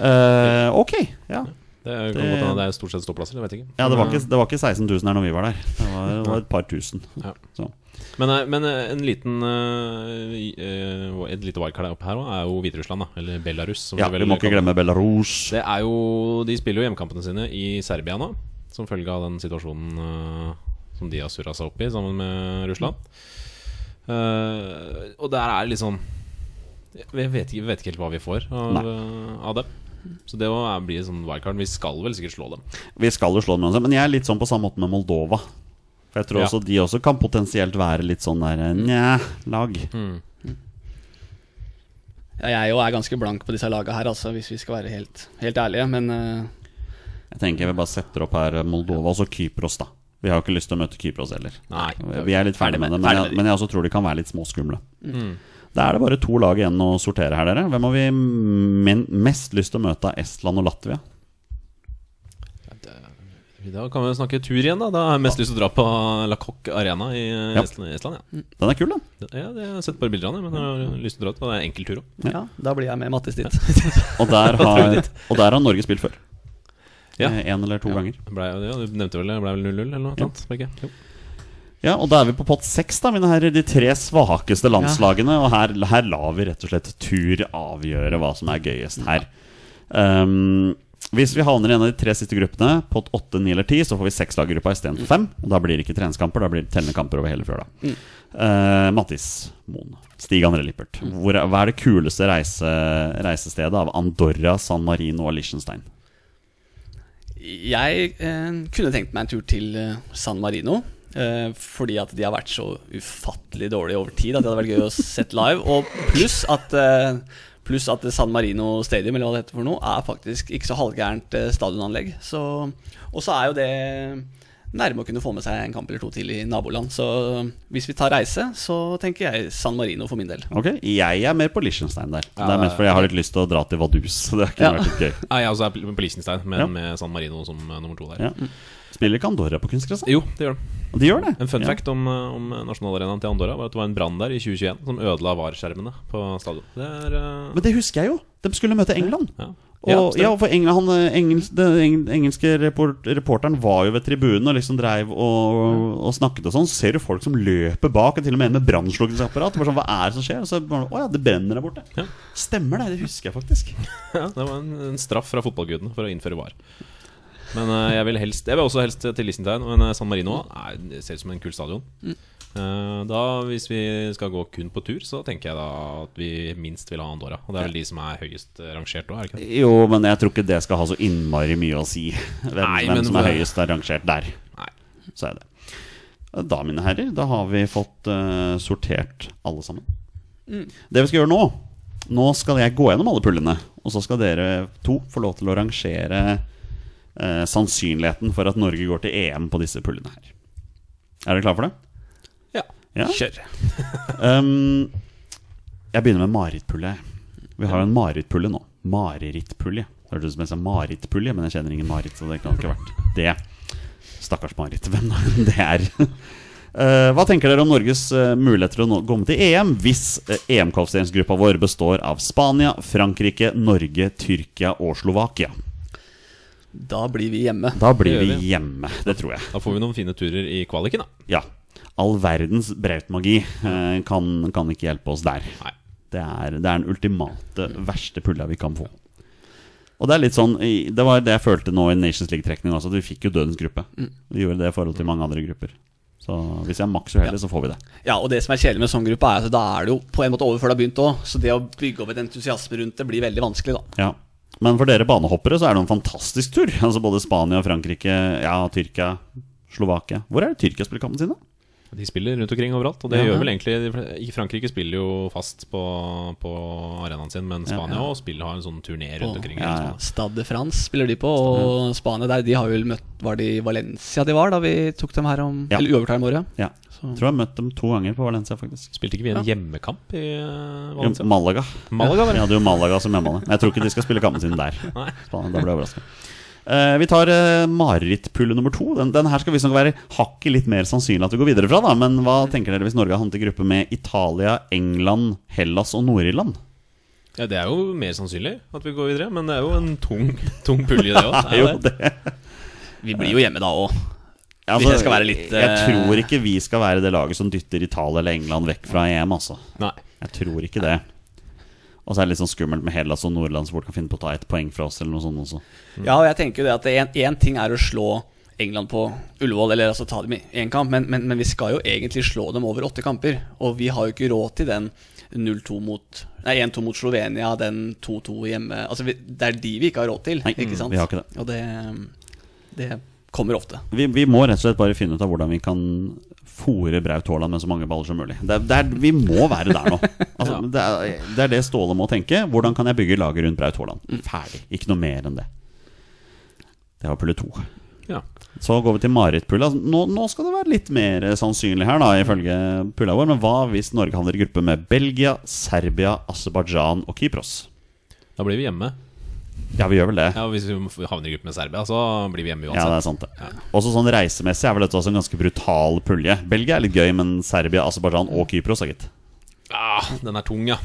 Speaker 2: Eh, ok. Ja.
Speaker 1: Det kan
Speaker 2: Det-
Speaker 1: godt hende det er stort sett ståplasser. Jeg vet ikke. Mm.
Speaker 2: Ja, det var, ikke, det var ikke 16 000 her når vi var der. Det var, det var et par tusen.
Speaker 1: Ja.
Speaker 2: Så.
Speaker 1: Men, eh, men eh, en liten eh, i- eh, Et lite wildcard oppe her òg er jo Hviterussland, da. Eller Belarus. som
Speaker 2: Ja,
Speaker 1: de vel
Speaker 2: vi må ikke
Speaker 1: kaller-
Speaker 2: glemme Belarus.
Speaker 1: Det er jo De spiller jo hjemmekampene sine i Serbia nå, som følge av den situasjonen eh, som de har surra seg opp i sammen med Russland. Eh, og der er det liksom Vi vet ikke, vi vet ikke helt hva vi får av, eh, av det. Så det var- blir sånn wildcard. Vi skal vel sikkert slå dem.
Speaker 2: Vi skal jo slå dem uansett, men jeg er litt sånn på samme måte med Moldova. For jeg tror
Speaker 1: Ja.
Speaker 2: også de også kan potensielt være litt sånn der njæ-lag.
Speaker 3: Ja, jeg jo er ganske blank på disse laga her, altså, hvis vi skal være helt, helt ærlige. Men eh,
Speaker 2: Jeg tenker vi bare setter opp her eh, Moldova og så Kypros, da. Vi har jo ikke lyst til å møte Kypros heller.
Speaker 1: Nei.
Speaker 2: Vi er litt ferdig med det, Mm. men jeg, men jeg også tror de kan være litt småskumle. Da er det bare to lag igjen å sortere her, dere. Hvem har vi men mest lyst til å møte av Estland og Latvia?
Speaker 1: Da kan vi snakke tur igjen, da. Da har jeg mest lyst til å dra på La Coque Arena i eh,
Speaker 2: Ja.
Speaker 1: Estland. Estland ja.
Speaker 2: Den er kul, den.
Speaker 1: Det- ja, det har jeg sett bare bilder av det, men jeg har lyst til å dra ut. og Det er en enkel tur òg.
Speaker 3: ja, da blir jeg med Mattis dit.
Speaker 2: Og der har, og der har Norge spilt før.
Speaker 1: Ja.
Speaker 2: Eh, En eller to ganger.
Speaker 1: Blei jo det, ja, du nevnte vel det ble vel 0-0 eller noe
Speaker 2: Ja.
Speaker 1: sånt? var det ikke? Jo.
Speaker 2: Ja, Og da er vi på pott seks, da, mine herrer. De tre svakeste landslagene. Og her, her lar vi rett og slett tur avgjøre hva som er gøyest her. Um, hvis vi havner i en av de tre siste gruppene, pott åtte, ni eller ti, så får vi seks lag i gruppa istedenfor fem. Og da blir det ikke treningskamper, da blir det tellende kamper over hele fjøla. Eh, Mattis Moen, Stig André Lippert. Hvor, er- hva er det kuleste reise, reisestedet av Andorra, San Marino og Liechtenstein?
Speaker 3: Jeg eh, kunne tenkt meg en tur til eh, San Marino. Eh, fordi at de har vært så ufattelig dårlige over tid at det hadde vært gøy å sett live. Og pluss at, eh, pluss at San Marino Stadium eller hva det heter for noe er faktisk ikke så halvgærent eh, stadionanlegg. Så, og så er jo det nærme å kunne få med seg en kamp eller to til i naboland. Så eh, hvis vi tar reise, så tenker jeg San Marino for min del.
Speaker 2: Ok, Jeg er mer på Liechtenstein der.
Speaker 1: Ja,
Speaker 2: det er
Speaker 1: det
Speaker 2: mest
Speaker 1: er-
Speaker 2: fordi jeg har litt lyst til å dra til Vaduz. Så det kunne
Speaker 3: Ja.
Speaker 2: vært litt gøy
Speaker 1: Nei, altså, jeg også er på Liechtenstein, men
Speaker 2: Ja.
Speaker 1: med San Marino som eh, nummer to der.
Speaker 2: ja. Spiller ikke Andorra på kunstgress? da?
Speaker 1: Jo, det gjør de.
Speaker 2: Og De gjør det.
Speaker 1: En fun
Speaker 2: Ja.
Speaker 1: fact om, eh, om nasjonalarenaen til Andorra var at det var en brann der i 2021 som ødela VAR-skjermene på stadion. Det er eh,
Speaker 2: Men det husker jeg jo. De skulle møte England.
Speaker 1: ja.
Speaker 2: Og, ja,
Speaker 1: stemmer.
Speaker 2: for England, han, eh, engels, Den eng- engelske report, reporteren var jo ved tribunen og liksom dreiv og, og snakket og sånn. Så ser du folk som løper bak, og til og med en med brannslukningsapparat. Bare Sånn, Hva er det som skjer? Og så bare, Å ja, det brenner der borte.
Speaker 1: Ja.
Speaker 2: Stemmer det. Det husker jeg faktisk.
Speaker 1: ja, det var en, en straff fra fotballgudene for å innføre VAR. Men eh, jeg vil helst Jeg vil også helst til Liechtenstein, men eh, San Marino
Speaker 2: Mm.
Speaker 1: er, det ser ut som en kul stadion. Eh, da, hvis vi skal gå kun på tur, så tenker jeg da at vi minst vil ha Andorra. Og det er vel de som er høyest eh, rangert òg, er det ikke det?
Speaker 2: Jo, men jeg tror ikke det skal ha så innmari mye å si. Hvem,
Speaker 1: Nei,
Speaker 2: hvem
Speaker 1: men
Speaker 2: som er
Speaker 1: det-
Speaker 2: høyest er rangert der.
Speaker 1: Nei.
Speaker 2: Så er det. Da, mine herrer, da har vi fått eh, sortert alle sammen. Det vi skal gjøre nå Nå skal jeg gå gjennom alle pullene, og så skal dere to få lov til å rangere eh, sannsynligheten for at Norge går til EM på disse pullene her. Er dere klare for det?
Speaker 1: Ja.
Speaker 2: Ja.
Speaker 1: Kjør.
Speaker 2: Um, jeg begynner med marerittpulje. Vi har jo en marerittpulje nå. Marerittpulje. Hørtes ut som jeg sa marerittpulje, men jeg kjenner ingen Marit, så det kan ikke ha vært det. Stakkars Marit, hvem nå enn det er. Eh, hva tenker dere om Norges eh, muligheter til å nå komme til EM hvis eh, EM-kvalifiseringsgruppa vår består av Spania, Frankrike, Norge, Tyrkia og Slovakia?
Speaker 3: Da blir vi hjemme.
Speaker 2: Da blir
Speaker 1: Det gjør
Speaker 2: vi hjemme, det tror jeg.
Speaker 1: Da får vi noen fine turer i kvaliken, da.
Speaker 2: Ja. all verdens brautmagi eh, kan, kan ikke hjelpe oss der.
Speaker 1: Nei.
Speaker 2: Det er, det er den ultimate verste pulla vi kan få. Og Det er litt sånn, i- det var det jeg følte nå i Nations League-trekninga også, at vi fikk jo dødens gruppe. Vi gjorde det i forhold til mange andre grupper. Så hvis jeg er maks uheldig, så får vi det.
Speaker 3: Ja, og det som er kjedelig med sånn gruppe, er at da er det jo på en måte over før det har begynt òg. Så det å bygge opp et entusiasme rundt det blir veldig vanskelig, da.
Speaker 2: Ja. Men for dere banehoppere så er det en fantastisk tur. Altså Både Spania, Frankrike, ja, Tyrkia, Slovakia. Hvor er det Tyrkia spiller kampene sine?
Speaker 1: De spiller rundt omkring overalt, og det
Speaker 2: Ja.
Speaker 1: gjør vel egentlig de fl- i Frankrike spiller jo fast på, på arenaen sin, men Spania og spiller har en sånn turné rundt omkring.
Speaker 2: ja, ja.
Speaker 3: Stade de France spiller de på, og Spania der, de har vel møtt Var det i Valencia de var da vi tok dem her om
Speaker 2: Ja.
Speaker 3: Eller uovertime året?
Speaker 2: Ja. Tror jeg har møtt dem to ganger på Valencia, faktisk.
Speaker 1: Spilte ikke vi en hjemmekamp i eh,
Speaker 2: Ja,
Speaker 1: Valencia?
Speaker 2: Malaga.
Speaker 1: Malaga, var det.
Speaker 2: Vi hadde jo Malaga som hjemmebane. Jeg tror ikke de skal spille kampene sine der. Spania, da ble jeg overraska. Eh, vi tar uh, marerittpulle nummer to. Den, den her skal visstnok være hakket litt mer sannsynlig at vi går videre fra, da. Men hva tenker dere hvis Norge har havnet i gruppe med Italia, England, Hellas og Nord-Irland?
Speaker 1: Ja, det er jo mer sannsynlig at vi går videre, men det er jo en tung, tung pulje, det òg.
Speaker 2: Det er jo det.
Speaker 3: Vi blir jo hjemme da òg.
Speaker 2: Ja,
Speaker 3: Hvis jeg skal være litt,
Speaker 2: Jeg
Speaker 3: eh,
Speaker 2: tror ikke vi skal være det laget som dytter Italia eller England vekk fra EM, altså.
Speaker 1: Nei.
Speaker 2: Jeg tror ikke det. Og så er det litt sånn skummelt med Hellas og Nordland, som fort kan finne på å ta ett poeng fra oss, eller noe sånt også.
Speaker 3: Ja, og jeg tenker jo det at en- en ting er å slå England på Ullevål, eller altså ta dem i én kamp, men, men, men vi skal jo egentlig slå dem over åtte kamper. Og vi har jo ikke råd til den 0-2 mot Nei, 1-2 mot Slovenia, den 2-2 hjemme Altså, vi, det er de vi ikke har råd til,
Speaker 2: Nei, mm,
Speaker 3: ikke sant?
Speaker 2: vi har ikke det.
Speaker 3: Og det, det kommer ofte.
Speaker 2: Vi, vi må rett og slett bare finne ut av hvordan vi kan fòre Braut Haaland med så mange baller som mulig. Det, er- det er, vi må være der nå. Altså, det, er, det er det Ståle må tenke. Hvordan kan jeg bygge laget rundt Braut Haaland? Ferdig. Ikke noe mer enn det. Det var pulle to.
Speaker 1: Ja.
Speaker 2: Så går vi til marerittpulla. Nå, nå skal det være litt mer eh, sannsynlig her, da, ifølge pulla vår. Men hva hvis Norge havner i gruppe med Belgia, Serbia, Aserbajdsjan og Kypros?
Speaker 1: Da blir vi hjemme.
Speaker 2: Ja, vi gjør vel det.
Speaker 1: Ja, og Hvis vi havner i gruppe med Serbia, så blir vi hjemme
Speaker 2: Ja, det
Speaker 1: uansett.
Speaker 2: er sant, det. Også sånn reisemessig er vel dette også en ganske brutal pulje. Belgia er litt gøy, men Serbia, Aserbajdsjan og Kypros, da, gitt.
Speaker 1: ah, den er tung, ja.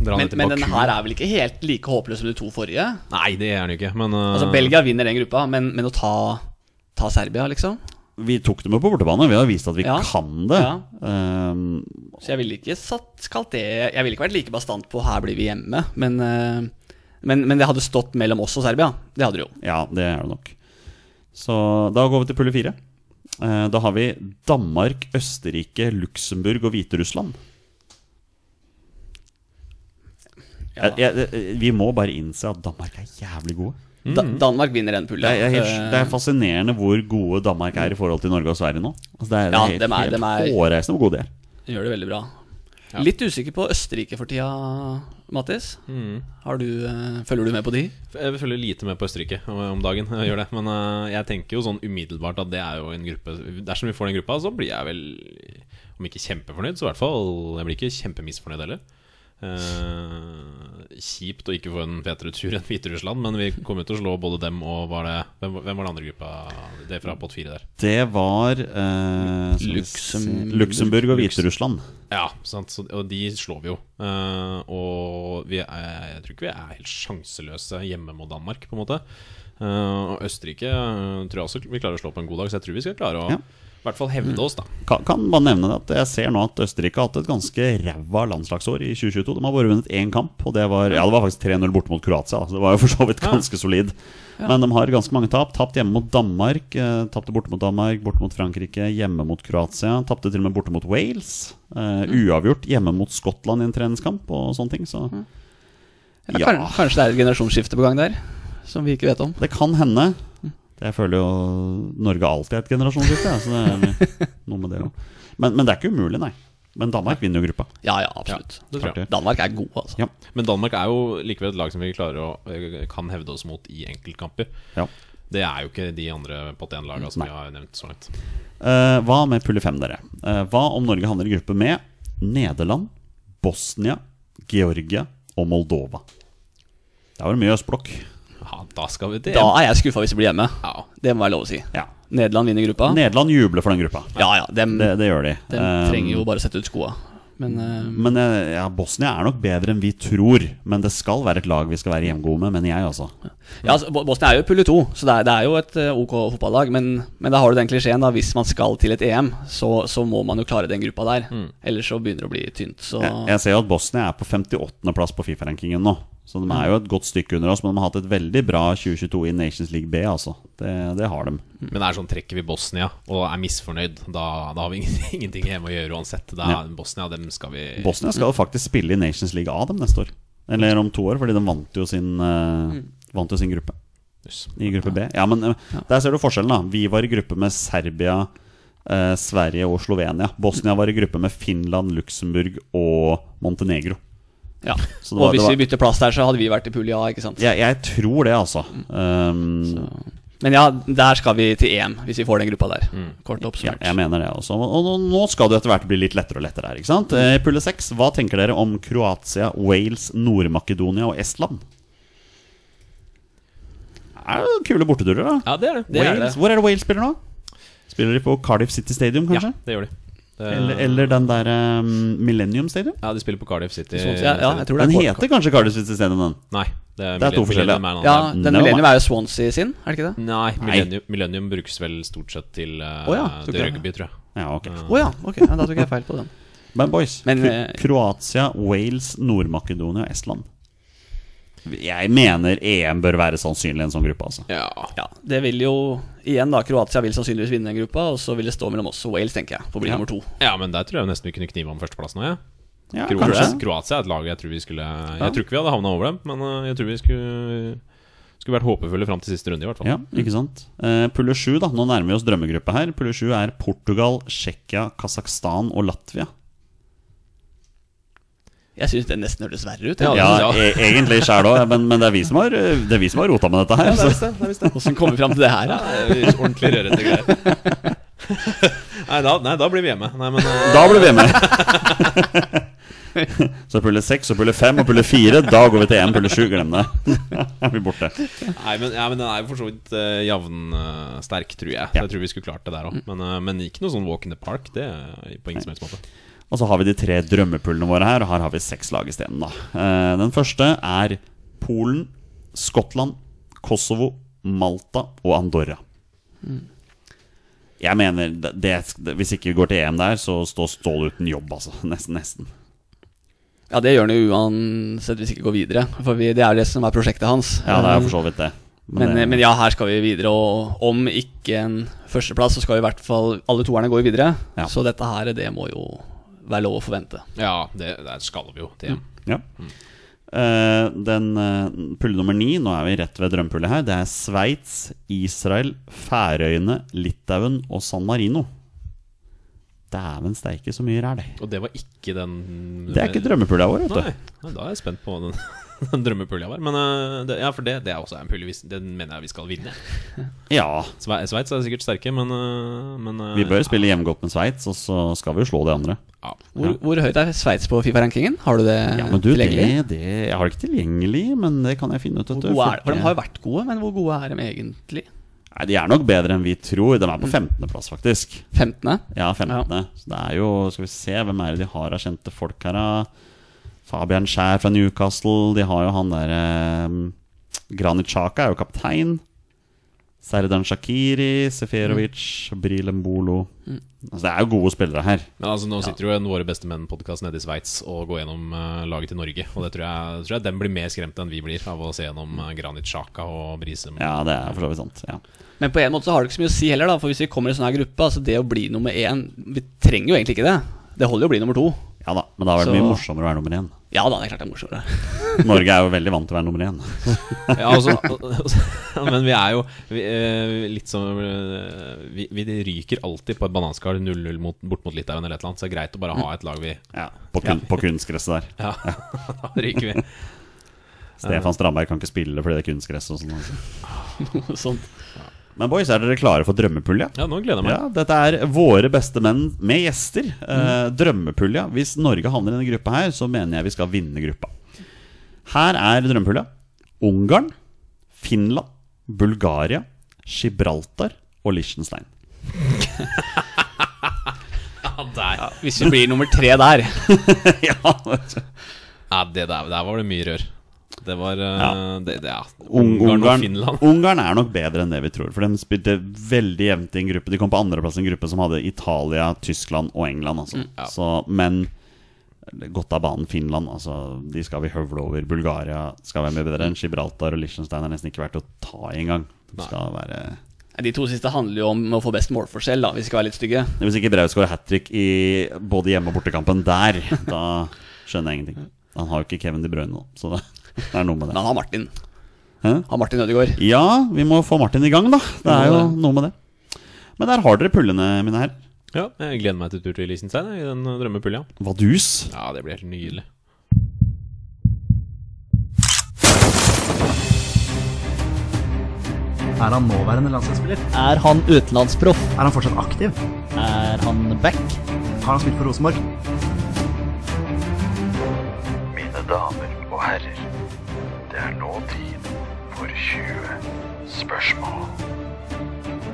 Speaker 1: Dra
Speaker 3: Men,
Speaker 1: ned til
Speaker 3: men den
Speaker 1: Baku.
Speaker 3: her er vel ikke helt like håpløs som de to forrige?
Speaker 1: Nei, det er den jo ikke, men eh,
Speaker 3: Altså, Belgia vinner den gruppa, men, men å ta, ta Serbia, liksom?
Speaker 2: Vi tok dem jo på bortebane. Vi har vist at vi
Speaker 3: Ja.
Speaker 2: kan det.
Speaker 3: Ja.
Speaker 2: Ehm,
Speaker 3: Så jeg ville ikke satt, kalt det Jeg ville ikke vært like bastant på 'her blir vi hjemme', men, eh, men, men det hadde stått mellom oss og Serbia. Det hadde det jo.
Speaker 2: ja, det er det nok. Så da går vi til pulle fire. Eh, Da har vi Danmark, Østerrike, Luxembourg og Hviterussland.
Speaker 3: Ja.
Speaker 2: Jeg- jeg- jeg- Vi må bare innse at Danmark er jævlig gode.
Speaker 3: Da, Danmark vinner den pullen.
Speaker 2: Det er, Mm. jeg er helt,
Speaker 3: Eh,
Speaker 2: det er fascinerende hvor gode Danmark er i forhold til Norge og Sverige nå. Altså, det er, det
Speaker 3: Ja,
Speaker 2: er helt,
Speaker 3: dem er-
Speaker 2: helt
Speaker 3: dem er-
Speaker 2: hårreisende hvor gode de er.
Speaker 3: Gjør det veldig bra. Litt usikker på Østerrike for tida, Mattis.
Speaker 2: Mm.
Speaker 3: Har du, eh, følger du med på de?
Speaker 1: Jeg følger lite med på Østerrike om- om dagen. Jeg gjør det Men eh, jeg tenker jo sånn umiddelbart at det er jo en gruppe Dersom vi får den gruppa, så blir jeg vel Om ikke kjempefornøyd, så i hvert fall Jeg blir ikke kjempemisfornøyd heller. Eh, kjipt å ikke få en fetere tur enn Hviterussland, men vi kommer til å slå både dem og var det, hvem, hvem var den andre gruppa? Det er fra pott fire der.
Speaker 2: Det var eh, skal vi se,
Speaker 3: Luxemburg.
Speaker 2: Luxemburg og Hviterussland.
Speaker 1: Ja, sant? Så, og de slår vi jo. Eh, og vi er, jeg tror ikke vi er helt sjanseløse hjemme mot Danmark, på en måte. Eh, og Østerrike eh, tror jeg også vi klarer å slå på en god dag, så jeg tror vi skal klare å
Speaker 2: Ja. Mm.
Speaker 1: i hvert fall hevde oss, da.
Speaker 2: Kan, kan bare nevne det at jeg ser nå at Østerrike har hatt et ganske ræva landslagsår i 2022. De har bare vunnet én kamp, og det var, ja, det var faktisk 3-0 borte mot Kroatia. da, Så det var jo for så vidt ganske solid. Men de har ganske mange tap. Tapt hjemme mot Danmark, eh, tapte borte mot Danmark, borte mot Frankrike, hjemme mot Kroatia. Tapte til og med borte mot Wales. Eh, uavgjort hjemme mot Skottland i en treningskamp og sånne ting. Så
Speaker 3: Ja,
Speaker 2: Ja.
Speaker 3: kan- Kanskje det er et generasjonsskifte på gang der, som vi ikke vet om.
Speaker 2: Det kan hende. Jeg føler jo Norge alltid er et generasjonsskifte. jeg, Så det er noe med det også. Men, men det er ikke umulig, nei. Men Danmark vinner jo gruppa.
Speaker 3: Ja, ja, absolutt.
Speaker 1: Det tror jeg.
Speaker 3: Danmark er gode, altså.
Speaker 2: Ja.
Speaker 1: Men Danmark er jo likevel et lag som vi klarer å, eh, kan hevde oss mot i enkeltkamper.
Speaker 2: Ja.
Speaker 1: Det er jo ikke de andre pott 1-lagene som
Speaker 2: Nei.
Speaker 1: vi har nevnt så langt.
Speaker 2: Eh, hva med pulle fem, dere? Eh, hva om Norge havner i gruppe med Nederland, Bosnia, Georgia og Moldova? Der var det mye østblokk.
Speaker 1: Ja, da skal vi det.
Speaker 3: Da er jeg skuffa hvis det blir hjemme.
Speaker 1: Ja.
Speaker 3: Det må være lov å si.
Speaker 2: Ja.
Speaker 3: Nederland vinner gruppa.
Speaker 2: Nederland jubler for den gruppa.
Speaker 3: Ja ja, dem,
Speaker 2: Det, det gjør de.
Speaker 3: dem
Speaker 2: Eh,
Speaker 3: trenger jo bare å sette ut skoa. Men eh,
Speaker 2: Men eh, ja, Bosnia er nok bedre enn vi tror. Men det skal være et lag vi skal være hjemgode med, mener jeg, altså.
Speaker 3: Ja, altså, Bo- Bosnia er jo pulle to, så det er, det er jo et eh, ok fotballag. Men, men da har du den klisjeen, da. Hvis man skal til et EM, så, så må man jo klare den gruppa der. Ellers så begynner det å bli tynt. Så
Speaker 2: Jeg, jeg ser jo at Bosnia er på 58.-plass på Fifa-rankingen nå. Så de er jo et godt stykke under oss, men de har hatt et veldig bra 2022 i Nations League B, altså. Det, det har de.
Speaker 1: Men det er sånn trekker vi Bosnia og er misfornøyd, da, da har vi ingen- ingenting hjemme å gjøre uansett. Da,
Speaker 2: Ja.
Speaker 1: Bosnia, dem skal vi
Speaker 3: Eh,
Speaker 2: Bosnia
Speaker 3: mm.
Speaker 2: skal jo faktisk spille i Nations League A dem neste år. Eller om to år, fordi de vant jo sin, eh,
Speaker 3: Mm.
Speaker 2: vant jo sin gruppe.
Speaker 1: Jøss.
Speaker 2: I gruppe B. Ja, men eh, der ser du forskjellen, da. Vi var i gruppe med Serbia, eh, Sverige og Slovenia. Bosnia var i gruppe med Finland, Luxembourg og Montenegro.
Speaker 3: ja.
Speaker 2: Så det
Speaker 3: Og
Speaker 2: var- det
Speaker 3: hvis
Speaker 2: var-
Speaker 3: vi bytter plass der, så hadde vi Mm. vært i pulje A, ikke sant.
Speaker 2: Jeg, jeg tror det, altså. Um,
Speaker 3: Men ja, der skal vi til EM, hvis vi får den gruppa der. Kort
Speaker 2: ja,
Speaker 3: oppsummert.
Speaker 2: jeg mener det også. Og og nå skal det etter hvert bli litt lettere og lettere her, ikke sant? Eh, Pulle 6, hva tenker dere om Kroatia, Wales, Nord-Makedonia og Estland? Det er jo kule borteturer, da.
Speaker 1: Ja, det er det. det, er
Speaker 2: Wales.
Speaker 1: det.
Speaker 2: Hvor er det Wales spiller nå? Spiller de på Cardiff City Stadium,
Speaker 1: Ja,
Speaker 2: kanskje?
Speaker 1: det gjør de. Det,
Speaker 2: Eller, eller den der eh, Millennium Stadium?
Speaker 1: Ja, de spiller på Cardiff City.
Speaker 3: Sånn, ja, ja, jeg tror det
Speaker 2: Den
Speaker 3: er kort-
Speaker 2: heter kanskje Cardiff City Stadium, den.
Speaker 1: Nei, det
Speaker 2: Det er
Speaker 1: er,
Speaker 2: to
Speaker 1: Millennium-
Speaker 2: forskjellige.
Speaker 1: Millennium er en
Speaker 3: Ja,
Speaker 1: annen-
Speaker 2: Det
Speaker 3: den
Speaker 2: var
Speaker 3: Millennium er jo Swansea sin, er det ikke det?
Speaker 1: Nei, Millennium, Millennium brukes vel stort sett til, eh,
Speaker 3: Å ja, så
Speaker 1: til
Speaker 3: klart.
Speaker 1: rugby, tror jeg.
Speaker 2: Ja, ok
Speaker 3: Å ja, ok. Ja, da tok jeg feil på den.
Speaker 2: Men boys,
Speaker 3: Men,
Speaker 2: Kro-
Speaker 3: eh,
Speaker 2: Kroatia, Wales, Nord-Makedonia og Estland. Jeg mener EM bør være sannsynlig i en sånn gruppe, altså.
Speaker 3: Ja, Det vil jo igjen, da. Kroatia vil sannsynligvis vinne den gruppa, og så vil det stå mellom oss og Wales, tenker jeg, på bli
Speaker 2: Ja.
Speaker 3: nummer to.
Speaker 1: Ja, men der tror jeg nesten vi kunne knive om førsteplassen òg, jeg.
Speaker 2: Ja,
Speaker 1: Kroatia,
Speaker 2: kanskje.
Speaker 1: Kroatia er et lag jeg tror vi skulle Jeg tror ikke vi hadde havna over dem, men eh, jeg tror vi skulle Skulle vært håpefulle fram til siste runde, i hvert fall.
Speaker 2: Ja, ikke sant. Eh, Pulle 7, da. Nå nærmer vi oss drømmegruppa her. Pulle 7 er Portugal, Tsjekkia, Kasakhstan og Latvia.
Speaker 3: Jeg syns det nesten hørtes verre ut.
Speaker 1: Ja,
Speaker 3: jeg.
Speaker 1: det
Speaker 2: Ja,
Speaker 1: synes
Speaker 2: e egentlig sjæl òg, men, men det er vi som har, eh, det er vi som har rota med dette her. Så.
Speaker 3: Hvordan kommer vi fram til det her, da?
Speaker 1: Ordentlig rørete greier. nei, da, nei, da blir vi hjemme. Nei, men eh,
Speaker 2: Da blir vi med. Så pulle 6 og pulle 5 og pulle 4, da går vi til EM. Pulle 7, glem det. Da er vi borte.
Speaker 1: Nei, men, ja, men den er jo for så vidt uh, jevnsterk, tror jeg. Jeg tror vi skulle klart det der òg.
Speaker 2: Mm.
Speaker 1: Men, eh, men ikke noe sånn walk in the park. Det er på ingen som helst måte.
Speaker 2: Og så har vi de tre drømmepullene våre her, og her har vi seks lag isteden, da. Eh, Den første er Polen, Skottland, Kosovo, Malta og Andorra. Jeg mener, det, det, hvis ikke vi går til EM der, så står Ståle uten jobb, altså. Nesten, nesten.
Speaker 3: Ja, det gjør han jo uansett hvis ikke går videre. For vi, det er jo det som er prosjektet hans. Eh,
Speaker 2: Ja, det er jo for så vidt det. eh,
Speaker 3: men, eh,
Speaker 2: det-
Speaker 3: men ja, her skal vi videre. Og om ikke en førsteplass, så skal i hvert fall alle toerne gå videre.
Speaker 2: Ja.
Speaker 3: Så dette her, det må jo være lov å forvente.
Speaker 1: Ja, det, der skal vi jo til hjem.
Speaker 2: Ja. Eh, den eh, pulle nummer ni, nå er vi rett ved drømmepullet her, det er Sveits, Israel, Færøyene, Litauen og San Marino. Dæven steike, så mye er det.
Speaker 1: Og det var ikke den
Speaker 2: Det er ikke drømmepulja vår, vet
Speaker 1: Nei,
Speaker 2: du.
Speaker 1: nei, da er jeg spent på den, den drømmepulja vår. Men eh, det, ja, for det, det er også en pulje vi- Den mener jeg vi skal vinne.
Speaker 2: Ja,
Speaker 1: Sve- Sveits er sikkert sterke, men, eh, men eh,
Speaker 2: vi bør spille hjemmegodt med Sveits, og så skal vi jo slå de andre.
Speaker 1: ja.
Speaker 3: Hvor, hvor høyt er Sveits på Fifa-rankingen? Har du det
Speaker 2: Ja, men du, det,
Speaker 3: tilgjengelig?
Speaker 2: det Jeg har det ikke tilgjengelig, men det kan jeg finne ut. vet
Speaker 3: Hvor
Speaker 2: du,
Speaker 3: gode er, for
Speaker 2: fordi-
Speaker 3: de har jo vært gode, men hvor gode er de egentlig?
Speaker 2: Nei, De er nok bedre enn vi tror. De er på
Speaker 3: Mm.
Speaker 2: 15.-plass, faktisk.
Speaker 3: 15.?
Speaker 2: Ja, 15. Så det er jo Skal vi se, hvem er det de har av kjente folk her, da? Fabian Skjær fra Newcastle. De har jo han derre um, Granit Xhaka er jo kaptein. Serdan Shakiri, Seferovic, Brilembolo Altså, det er jo gode spillere her.
Speaker 1: Men altså, nå sitter jo en Våre beste menn-podkast nede i Sveits og går gjennom eh, laget til Norge. Og det tror jeg, tror jeg den blir mer skremt enn vi blir av å se gjennom eh, Granit Xhaka og Brisem.
Speaker 2: Ja, det er for så vidt sant. Ja.
Speaker 3: Men på en måte så har det ikke så mye å si heller, da. For hvis vi kommer i sånn her gruppe, altså det å bli nummer én Vi trenger jo egentlig ikke det. Det holder jo å bli nummer to.
Speaker 2: Ja da, men da er det
Speaker 3: Så-
Speaker 2: mye morsommere å være nummer én.
Speaker 3: Ja da, det er klart det er morsommere.
Speaker 2: Norge er jo veldig vant til å være nummer én.
Speaker 1: Ja, altså, altså, men vi er jo vi, eh, litt som eh, vi, vi ryker alltid på et bananskall 0-0 mot, bort mot Litauen eller et eller annet, så det er greit å bare ha et lag vi
Speaker 2: Ja, på, kun, på kunstgresset der.
Speaker 1: Ja, da ryker vi.
Speaker 2: Stefan Strandberg kan ikke spille fordi det er kunstgress og sånn. altså.
Speaker 3: sånn.
Speaker 2: Men boys, er dere klare for drømmepulja?
Speaker 1: Ja, nå gleder jeg meg.
Speaker 2: Ja, dette er våre beste menn med gjester. Eh, drømmepulja. Hvis Norge havner i denne gruppa her, så mener jeg vi skal vinne gruppa. Her er drømmepulja. Ungarn, Finland, Bulgaria, Gibraltar og Liechtenstein.
Speaker 1: Ja, det er. Ja,
Speaker 3: Hvis vi blir nummer tre der.
Speaker 2: ja, vet du.
Speaker 1: det der, der var det mye rør. Det var eh,
Speaker 2: Ja.
Speaker 1: Det, det, ja.
Speaker 2: Ung-
Speaker 1: Ungarn og
Speaker 2: Ungarn,
Speaker 1: Finland.
Speaker 2: Ungarn er nok bedre enn det vi tror. For de spilte veldig jevnt i en gruppe. De kom på andreplass i en gruppe som hadde Italia, Tyskland og England. Altså.
Speaker 1: Mm, ja.
Speaker 2: Så, men godt av banen Finland. Altså, de skal vi høvle over. Bulgaria skal være med bedre enn Gibraltar og Liechtenstein er nesten ikke verdt å ta i engang. De skal være
Speaker 3: De to siste handler jo om å få best målforskjell, da, hvis vi skal være litt stygge.
Speaker 2: Hvis ikke Braut har hat trick i både hjemme- og bortekampen der, da skjønner jeg ingenting. Han har jo ikke Kevin De Bruyne nå, så det det er noe med det.
Speaker 3: Men han har Martin.
Speaker 2: Hæ?
Speaker 3: Han Martin Ødegaard.
Speaker 2: Ja, vi må få Martin i gang, da. Det er jo noe med det. Men der har dere pullene, mine herrer.
Speaker 1: Ja, jeg gleder meg til tur til Liechtenstein jeg, i den eh, drømmepulja.
Speaker 2: Vadus.
Speaker 1: Ja, det blir helt nydelig.
Speaker 4: Er han nåværende landslagsspiller?
Speaker 5: Er han utenlandsproff?
Speaker 4: Er han fortsatt aktiv?
Speaker 5: Er han back?
Speaker 4: Har han spilt for Rosenborg?
Speaker 6: Mine damer og herrer, det er nå tid for 20 spørsmål.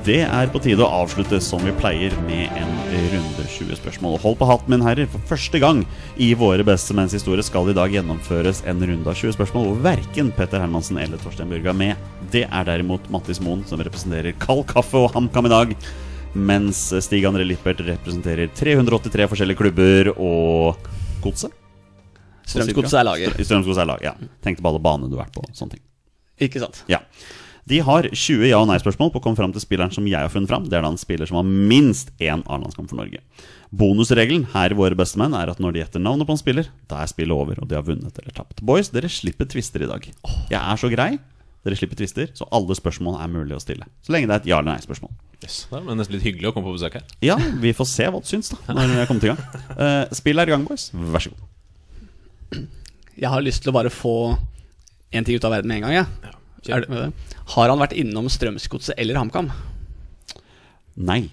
Speaker 2: Det er på tide å avslutte som vi pleier, med en runde 20 spørsmål. Hold på hatten, mine herrer. For første gang i våre beste menns historie skal det i dag gjennomføres en runde av 20 spørsmål hvor verken Petter Hermansen eller Torstein Burge er med. Det er derimot Mattis Moen, som representerer Kald kaffe og HamKam i dag. Mens Stig André Lippert representerer 383 forskjellige klubber og Godset.
Speaker 3: Strømsgodset er lager.
Speaker 2: Strø- Strømsgodset er lag, ja. Tenkte på alle banene du har vært på. sånne ting
Speaker 3: Ikke sant.
Speaker 2: Ja De har 20 ja- og nei-spørsmål på å komme fram til spilleren som jeg har funnet fram. Det er da en spiller som har minst én A-landskamp for Norge. Bonusregelen her i Våre bestemenn er at når de gjetter navnet på en spiller, da er spillet over, og de har vunnet eller tapt. Boys, dere slipper tvister i dag. Jeg er så grei. Dere slipper tvister, så alle spørsmål er mulig å stille. Så lenge det er et ja- eller nei-spørsmål.
Speaker 1: Yes. Det er nesten litt hyggelig å komme på besøk her.
Speaker 2: Ja, vi får se hva du syns, da, når vi er kommet i gang. Eh, spill er i gang, boys. Vær så god.
Speaker 3: Jeg har lyst til å bare få én ting ut av verden med en gang, jeg.
Speaker 1: kjør.
Speaker 3: Er det- med det? Har han vært innom Strømsgodset eller HamKam?
Speaker 2: Nei.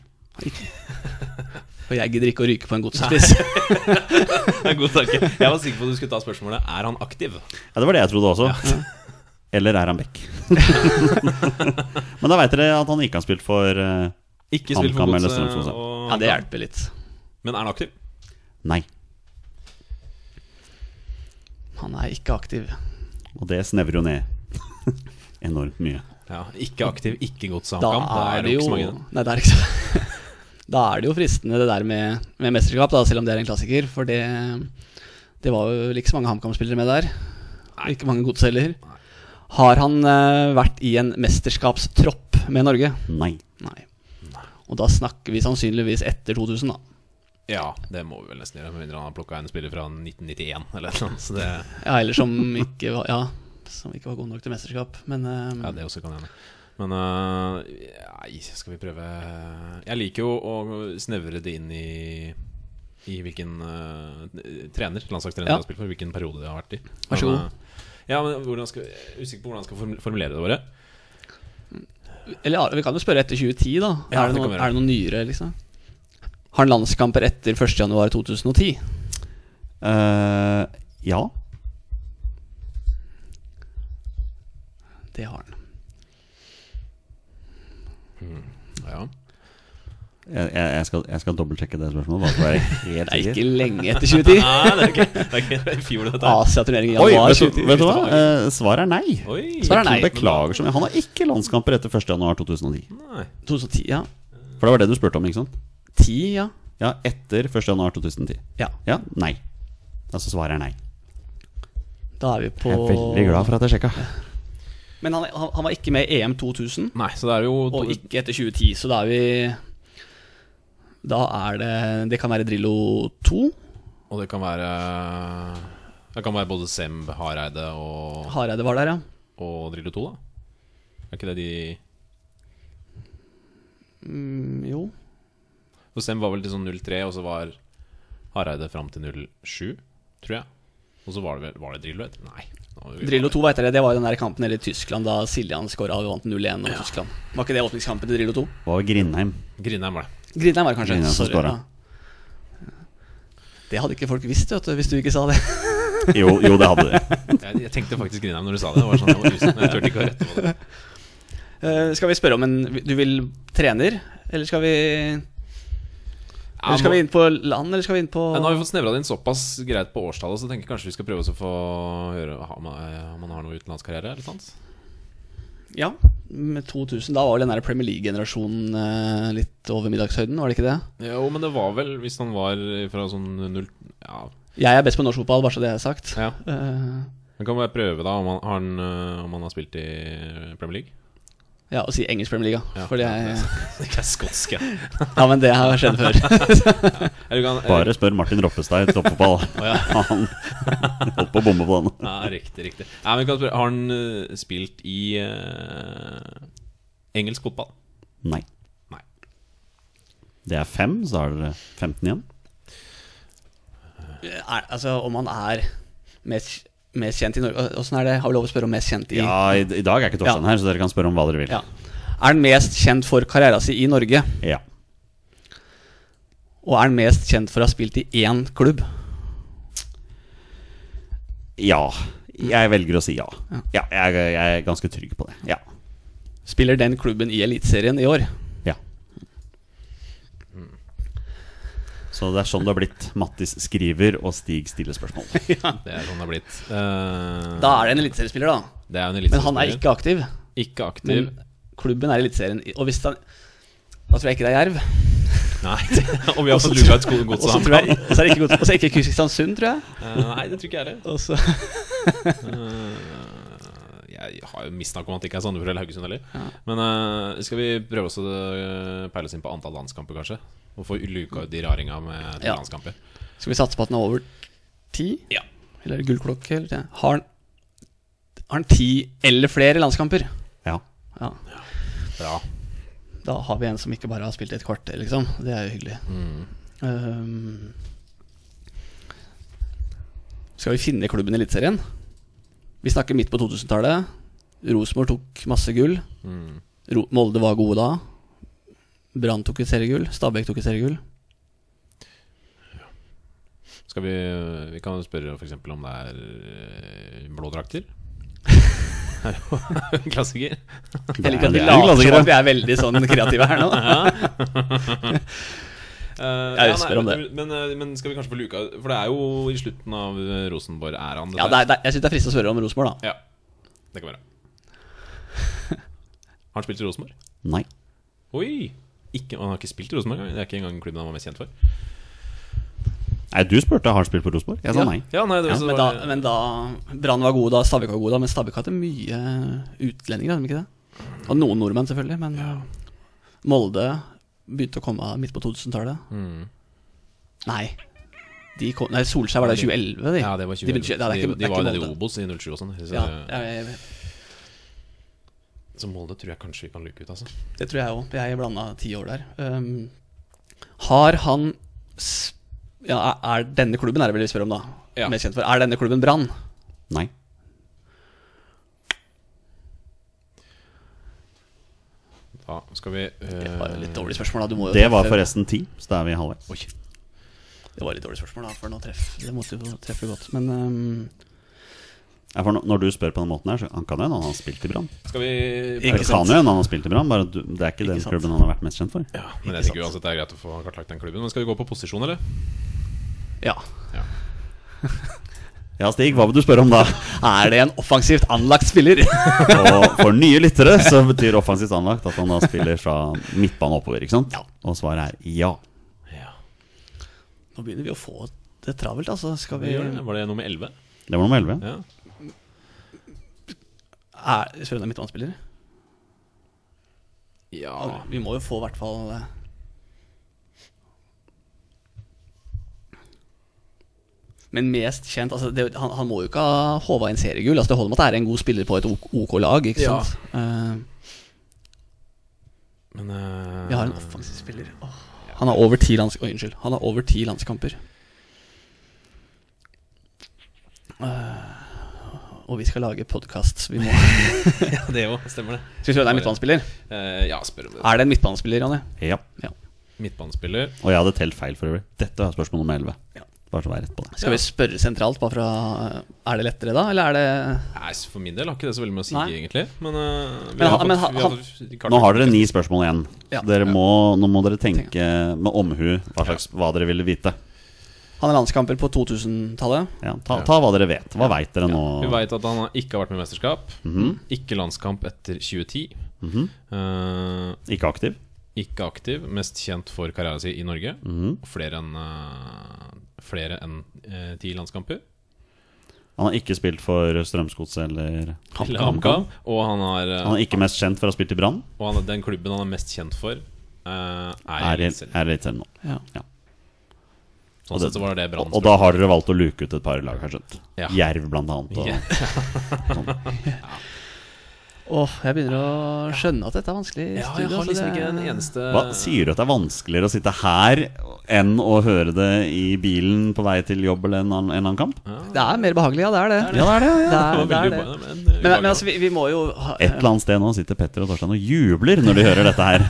Speaker 3: For jeg gidder ikke å ryke på en godsespiss.
Speaker 1: God tanke. Jeg var sikker på at du skulle ta spørsmålet Er han aktiv.
Speaker 2: Ja, det var det jeg trodde også. Eller er han back? Men da veit dere at han ikke har spilt for eh,
Speaker 1: Ikke spilt for
Speaker 2: HamKam eller
Speaker 1: godset.
Speaker 2: Strømsgodset.
Speaker 1: og-
Speaker 3: Ja, det hjelper litt.
Speaker 1: Men er han aktiv?
Speaker 2: Nei.
Speaker 3: Han er ikke aktiv.
Speaker 2: Og det snevrer jo ned enormt mye.
Speaker 1: Ja, Ikke aktiv, ikke godset
Speaker 3: Da
Speaker 1: HamKam. Da
Speaker 3: er det jo
Speaker 1: ikke så mange.
Speaker 3: Nei, det er ikke så Da er det jo fristende det der med, med mesterskap, da, selv om det er en klassiker. For det, det var jo ikke så mange HamKam-spillere med der. Ikke mange godseller. Har han eh, vært i en mesterskapstropp med Norge?
Speaker 2: Nei.
Speaker 3: Nei. Og da snakker vi sannsynligvis etter 2000, da.
Speaker 1: Ja, det må vi vel nesten gjøre. Med mindre han har plukka en spiller fra 1991 eller et eller annet. Så det,
Speaker 3: Ja, eller som ikke var Ja, som ikke var god nok til mesterskap. Men eh,
Speaker 1: ja, det også kan hende. Men øh, nei, skal vi prøve Jeg liker jo å snevre det inn i i hvilken øh, trener, landslagstrener
Speaker 3: Ja.
Speaker 1: har spilt for, hvilken periode det har vært i.
Speaker 3: Vær så
Speaker 1: Men,
Speaker 3: god.
Speaker 1: øh, ja, men hvordan skal, jeg er usikker på hvordan jeg skal form- formulere det våre.
Speaker 3: Eller ja, vi kan jo spørre etter 2010, da.
Speaker 1: Ja,
Speaker 3: er, det
Speaker 1: det kan
Speaker 3: noe,
Speaker 1: vi gjøre.
Speaker 3: er det noe nyere, liksom? Har han landskamper etter 1.1.2010?
Speaker 2: Eh, ja.
Speaker 3: Det har han.
Speaker 1: Ja.
Speaker 2: Jeg, jeg, jeg skal, jeg skal dobbeltsjekke det spørsmålet. Bare for å være helt
Speaker 3: Det er ikke
Speaker 2: sikker.
Speaker 3: lenge etter 2010.
Speaker 1: Nei, det er ikke, det er ikke i fjor, dette. her.
Speaker 3: Asia-turnering i
Speaker 2: Oi,
Speaker 3: januar
Speaker 2: vet du,
Speaker 3: 2010.
Speaker 2: vet du hva? Eh, svaret er nei.
Speaker 1: Oi,
Speaker 3: Svaret er nei.
Speaker 2: Beklager så mye. Han har ikke landskamper etter 1.1.2010.
Speaker 1: Nei.
Speaker 3: 2010, ja.
Speaker 2: For det var det du spurte om, ikke sant?
Speaker 3: 10, ja.
Speaker 2: Ja, etter 1.1.2010.
Speaker 3: Ja,
Speaker 2: Ja, nei. Altså svaret er nei.
Speaker 3: da er vi på
Speaker 2: Jeg er veldig glad for at jeg sjekka.
Speaker 3: Men han, han han var ikke med i EM 2000,
Speaker 1: nei, så det er jo
Speaker 3: og ikke etter 2010, så da er vi Da er det Det kan være Drillo 2.
Speaker 1: Og det kan være Det kan være både Semb, Hareide og,
Speaker 3: Hareide var der, ja.
Speaker 1: og Drillo 2, da. Er ikke det de
Speaker 3: Mm, jo.
Speaker 1: For Semb var vel til sånn 03, og så var Hareide fram til 07, tror jeg. Og så var det, vel- var det Drillo etter? Nei. nå-
Speaker 3: Drillo 2 vet dere, det var jo den der kampen nede i Tyskland da Siljan skåra og vi vant 0-1 over Tyskland. Var ikke det åpningskampen til Drillo 2?
Speaker 2: Var Grindheim.
Speaker 1: Grindheim var det.
Speaker 3: Grindheim var det kanskje.
Speaker 2: Grindheim som
Speaker 3: Sorry.
Speaker 2: skåra.
Speaker 3: Ja. Det hadde ikke folk visst, vet du, hvis du ikke sa det.
Speaker 2: Jo, jo det hadde de.
Speaker 1: Jeg, jeg tenkte faktisk Grindheim når du sa det. det var sånn, jeg var usikker, men jeg turte ikke å rette på det.
Speaker 3: Eh, skal vi spørre om en Du vil trener, eller skal vi Eller skal vi inn på land, eller skal vi inn på
Speaker 1: Ja, Nå har vi fått snevra det inn såpass greit på årstallet, så jeg tenker kanskje vi skal prøve oss å få høre om han- om han har noe utenlandskarriere. eller sant?
Speaker 3: Ja, med 2000. Da var vel den der Premier League-generasjonen eh, litt over middagshøyden, var det ikke det?
Speaker 1: Jo, men det var vel, hvis han var fra sånn null Ja.
Speaker 3: Jeg er best på norsk fotball, bare så det er sagt.
Speaker 1: ja.
Speaker 3: Eh,
Speaker 1: Men kan vi bare prøve, da, om han, har han, øh, om han har spilt i eh, Premier League?
Speaker 3: ja, å si engelsk Premier League, ja.
Speaker 1: Ja.
Speaker 3: Fordi jeg
Speaker 1: Ikke er skotsk, jeg.
Speaker 3: Ja, men det har skjedd før.
Speaker 1: Eller kan- eh,
Speaker 2: Bare spør Martin Roppestad i toppfotball. Han holdt på å bomme på den.
Speaker 1: Ja, riktig, riktig. Nei, men kan jeg spørre, Har han øh, spilt i øh, engelsk fotball?
Speaker 2: Nei.
Speaker 1: Nei.
Speaker 2: Det er fem, så har dere 15 igjen.
Speaker 3: er, altså, om han er mest, mest kjent i Norge Åssen er det? Har vi lov å spørre om mest kjent i
Speaker 2: Ja, I, i dag er ikke Torstein
Speaker 3: Ja.
Speaker 2: her, så dere kan spørre om hva dere vil.
Speaker 3: Ja. Er han mest kjent for karriera si i Norge?
Speaker 2: Ja.
Speaker 3: Og er han mest kjent for å ha spilt i én klubb?
Speaker 2: Ja. Jeg velger å si ja. Ja, jeg, jeg er ganske trygg på det. Ja.
Speaker 3: Spiller den klubben i Eliteserien i år?
Speaker 2: ja. Så det er sånn det har blitt. Mattis skriver, og Stig stiller spørsmål.
Speaker 1: Det er sånn det har blitt. Eh,
Speaker 3: Da er det en eliteseriespiller, da.
Speaker 1: det er jo en
Speaker 3: Men han er
Speaker 1: eliteseriespiller.
Speaker 3: ikke aktiv.
Speaker 1: Ikke aktiv.
Speaker 3: Men klubben er i Eliteserien. i- Og hvis han Da tror jeg ikke det er Jerv.
Speaker 1: Nei, om vi har fått luka ut sko-
Speaker 3: Og så
Speaker 1: godset
Speaker 3: tror jeg- og så er det ikke godt- og så er det ikke Kristiansund, tror jeg.
Speaker 1: Eh, Nei, det tror ikke jeg heller.
Speaker 3: Og så
Speaker 1: Eh, Jeg har jo mistanke om at det ikke er Sandefjord eller Haugesund heller. Men eh, skal vi prøve oss å eh, peile oss inn på antall landskamper, kanskje? Og få luka ut de raringa med to
Speaker 3: Ja.
Speaker 1: landskamper.
Speaker 3: Skal vi satse på at han er over ti?
Speaker 1: Ja.
Speaker 3: Eller gullklokke? Eller det? Har han Har han ti eller flere landskamper?
Speaker 2: Ja.
Speaker 3: Ja.
Speaker 1: Bra.
Speaker 3: Da har vi en som ikke bare har spilt et kvarter, liksom. Det er jo hyggelig. Um, skal vi finne klubben i Eliteserien? Vi snakker midt på 2000-tallet. Rosenborg tok masse gull.
Speaker 1: Mm.
Speaker 3: Ro Molde var gode da. Brann tok et seriegull. Stabæk tok et seriegull.
Speaker 1: Skal vi Vi kan jo spørre f.eks. om det er eh, blå drakter. Er det jo en Klassiker.
Speaker 3: Jeg liker at
Speaker 2: det
Speaker 3: vi
Speaker 2: er jo
Speaker 3: later som
Speaker 2: klassikere.
Speaker 3: at vi er veldig sånn kreative her nå.
Speaker 1: Eh,
Speaker 3: Jeg
Speaker 1: ja,
Speaker 3: spør om
Speaker 1: nei,
Speaker 3: det.
Speaker 1: Men, eh, men skal vi kanskje få luka For det er jo i slutten av eh, Rosenborg-æraen. dette
Speaker 3: Ja, det er, det er, jeg syns det er fristende å spørre om Rosenborg, da.
Speaker 1: Ja, det kan være. Har han spilt i Rosenborg?
Speaker 2: Nei.
Speaker 1: Oi! Ikke, han har ikke spilt i Rosenborg engang. Det er ikke engang klubben han var mest kjent for.
Speaker 2: Nei, du spurte har han spilt på Rosenborg. Jeg sa sånn, nei.
Speaker 1: Ja, nei, det var, så
Speaker 3: Men da,
Speaker 1: var,
Speaker 3: men da Brann var gode da, Stabæk var gode da, men Stabæk hadde mye utlendinger, hadde de ikke det? Og noen nordmenn, selvfølgelig, men eh, Molde begynte å komme midt på 2000-tallet.
Speaker 1: Mm.
Speaker 3: Nei. De kom, nei, Solskjær var der i 2011, de.
Speaker 1: ja, det var 2011.
Speaker 3: De, begynte, ja, det er ikke,
Speaker 1: de, de var
Speaker 3: det
Speaker 1: jo
Speaker 3: er
Speaker 1: nede i
Speaker 3: ikke Molde.
Speaker 1: Obos i 07 og sånn. Så,
Speaker 3: Ja, jeg, jeg,
Speaker 1: så Molde tror jeg kanskje vi kan luke ut, altså.
Speaker 3: det tror jeg òg. Jeg blanda ti år der. Um, har han s- ja, er, er denne klubben er det vel vi spør om, da?
Speaker 1: Ja.
Speaker 3: Mest kjent for. Er denne klubben Brann?
Speaker 2: Nei.
Speaker 1: Da skal vi
Speaker 3: Det var jo
Speaker 1: eh,
Speaker 3: litt dårlig spørsmål, da. Du må jo
Speaker 2: Det var
Speaker 3: treffe-
Speaker 2: forresten ti, så da er vi halvveis.
Speaker 3: Det var litt dårlig spørsmål, da, for nå treff, det måtte jo treffe godt. Men ehm, øhm,
Speaker 2: Ja, for når- når du spør på den måten her, så han kan jo hende han har spilt i Brann.
Speaker 1: Skal vi
Speaker 3: Ikke
Speaker 2: Det kan
Speaker 3: sant?
Speaker 2: jo hende han har spilt i Brann, bare at du, det er ikke, den
Speaker 3: sant.
Speaker 2: klubben han har vært mest kjent for.
Speaker 1: ja, Men jeg tenker uansett det er greit å få kartlagt den klubben. Men skal vi gå på posisjon, eller?
Speaker 3: ja.
Speaker 2: Ja, Stig, hva vil du spørre om da?
Speaker 3: Er det en offensivt anlagt spiller?
Speaker 2: Og for nye lyttere så betyr offensivt anlagt at han da spiller fra midtbane oppover, ikke sant? Og svaret er ja.
Speaker 3: nå begynner vi å få det travelt, altså. Skal
Speaker 1: Vi
Speaker 3: vi
Speaker 1: gjør det. Var det nummer 11?
Speaker 2: Det var nummer 11.
Speaker 1: Ja.
Speaker 3: er, Spør om det er midtbanespiller?
Speaker 1: ja.
Speaker 3: Vi må jo få i hvert fall eh, Men mest kjent altså det, han, han må jo ikke ha håva inn seriegull. Altså det holder med at det er en god spiller på et OK, OK lag, ikke
Speaker 1: Ja.
Speaker 3: sant? Eh,
Speaker 1: Men eh,
Speaker 3: vi har en offensiv spiller. Åh. Han har over ti lands... Oi, unnskyld. Han har over ti landskamper. Eh, og vi skal lage podkast. Vi må Skal
Speaker 1: Ja, det òg. Stemmer det.
Speaker 3: vi spørre deg midtbanespiller?
Speaker 1: Eh, ja, spør om det.
Speaker 3: Er det en midtbanespiller, Janne?
Speaker 2: Ja.
Speaker 3: Ja.
Speaker 1: Midtbanespiller.
Speaker 2: Og jeg hadde telt feil for øvrig. Dette er spørsmål nummer 11. Bare så å være rett på det.
Speaker 3: Skal vi spørre sentralt bare fra Er det lettere da, eller er det
Speaker 1: Nei, så For min del har ikke det så veldig mye å si,
Speaker 3: Nei.
Speaker 1: egentlig. Men, eh, vi
Speaker 3: Men
Speaker 1: har
Speaker 3: han- men
Speaker 1: fått-
Speaker 3: han-
Speaker 1: vi
Speaker 3: han-
Speaker 1: fått kartlagt-
Speaker 2: Nå har dere ni spørsmål igjen.
Speaker 3: Ja.
Speaker 2: Dere må, nå må dere tenke med omhu hva, slags, hva dere ville vite.
Speaker 3: Han er landskamper på 2000-tallet.
Speaker 2: Ja, ta, ta hva dere vet. Hva veit dere nå? Mhm.
Speaker 1: Vi veit at han har- ikke har vært med i mesterskap. Ikke landskamp etter 2010. Eh,
Speaker 2: Ikke aktiv?
Speaker 1: ikke aktiv, mest kjent for karrieren sin i Norge. Og flere enn eh, Flere enn eh, ti landskamper.
Speaker 2: Han har ikke spilt for Strømsgodset eller
Speaker 1: Eller HamKam. Og han har eh,
Speaker 2: Han er ikke mest kjent for å ha spilt i Brann.
Speaker 1: Og han, den klubben han er mest kjent for, eh, er,
Speaker 2: Er i-
Speaker 1: Eliteserien.
Speaker 2: er i Eliteserien nå.
Speaker 3: Ja.
Speaker 1: Sånn sett så var det Brann.
Speaker 2: Og da har dere valgt å luke ut et par lag, har jeg skjønt.
Speaker 1: Ja.
Speaker 2: Jerv, blant annet. Og,
Speaker 1: Ja.
Speaker 3: Åh, jeg begynner å skjønne at dette er vanskelig.
Speaker 1: ja,
Speaker 3: studio,
Speaker 1: jeg har
Speaker 3: altså,
Speaker 1: liksom
Speaker 3: det
Speaker 1: ikke
Speaker 3: er-
Speaker 1: den eneste
Speaker 2: Hva sier du at det er vanskeligere å sitte her enn å høre det i bilen på vei til jobb eller en annen, en annen kamp?
Speaker 3: Det er mer behagelig, ja. Det er det.
Speaker 2: Ja, det er det. Ja.
Speaker 1: Det var
Speaker 3: det, er,
Speaker 1: veldig
Speaker 3: det,
Speaker 1: uba-
Speaker 3: er det.
Speaker 1: men, eh,
Speaker 3: Men, men
Speaker 1: ubehagelig.
Speaker 3: altså, vi, vi må jo ha,
Speaker 2: Et eller annet sted nå sitter Petter og Torstein og jubler når de hører dette her.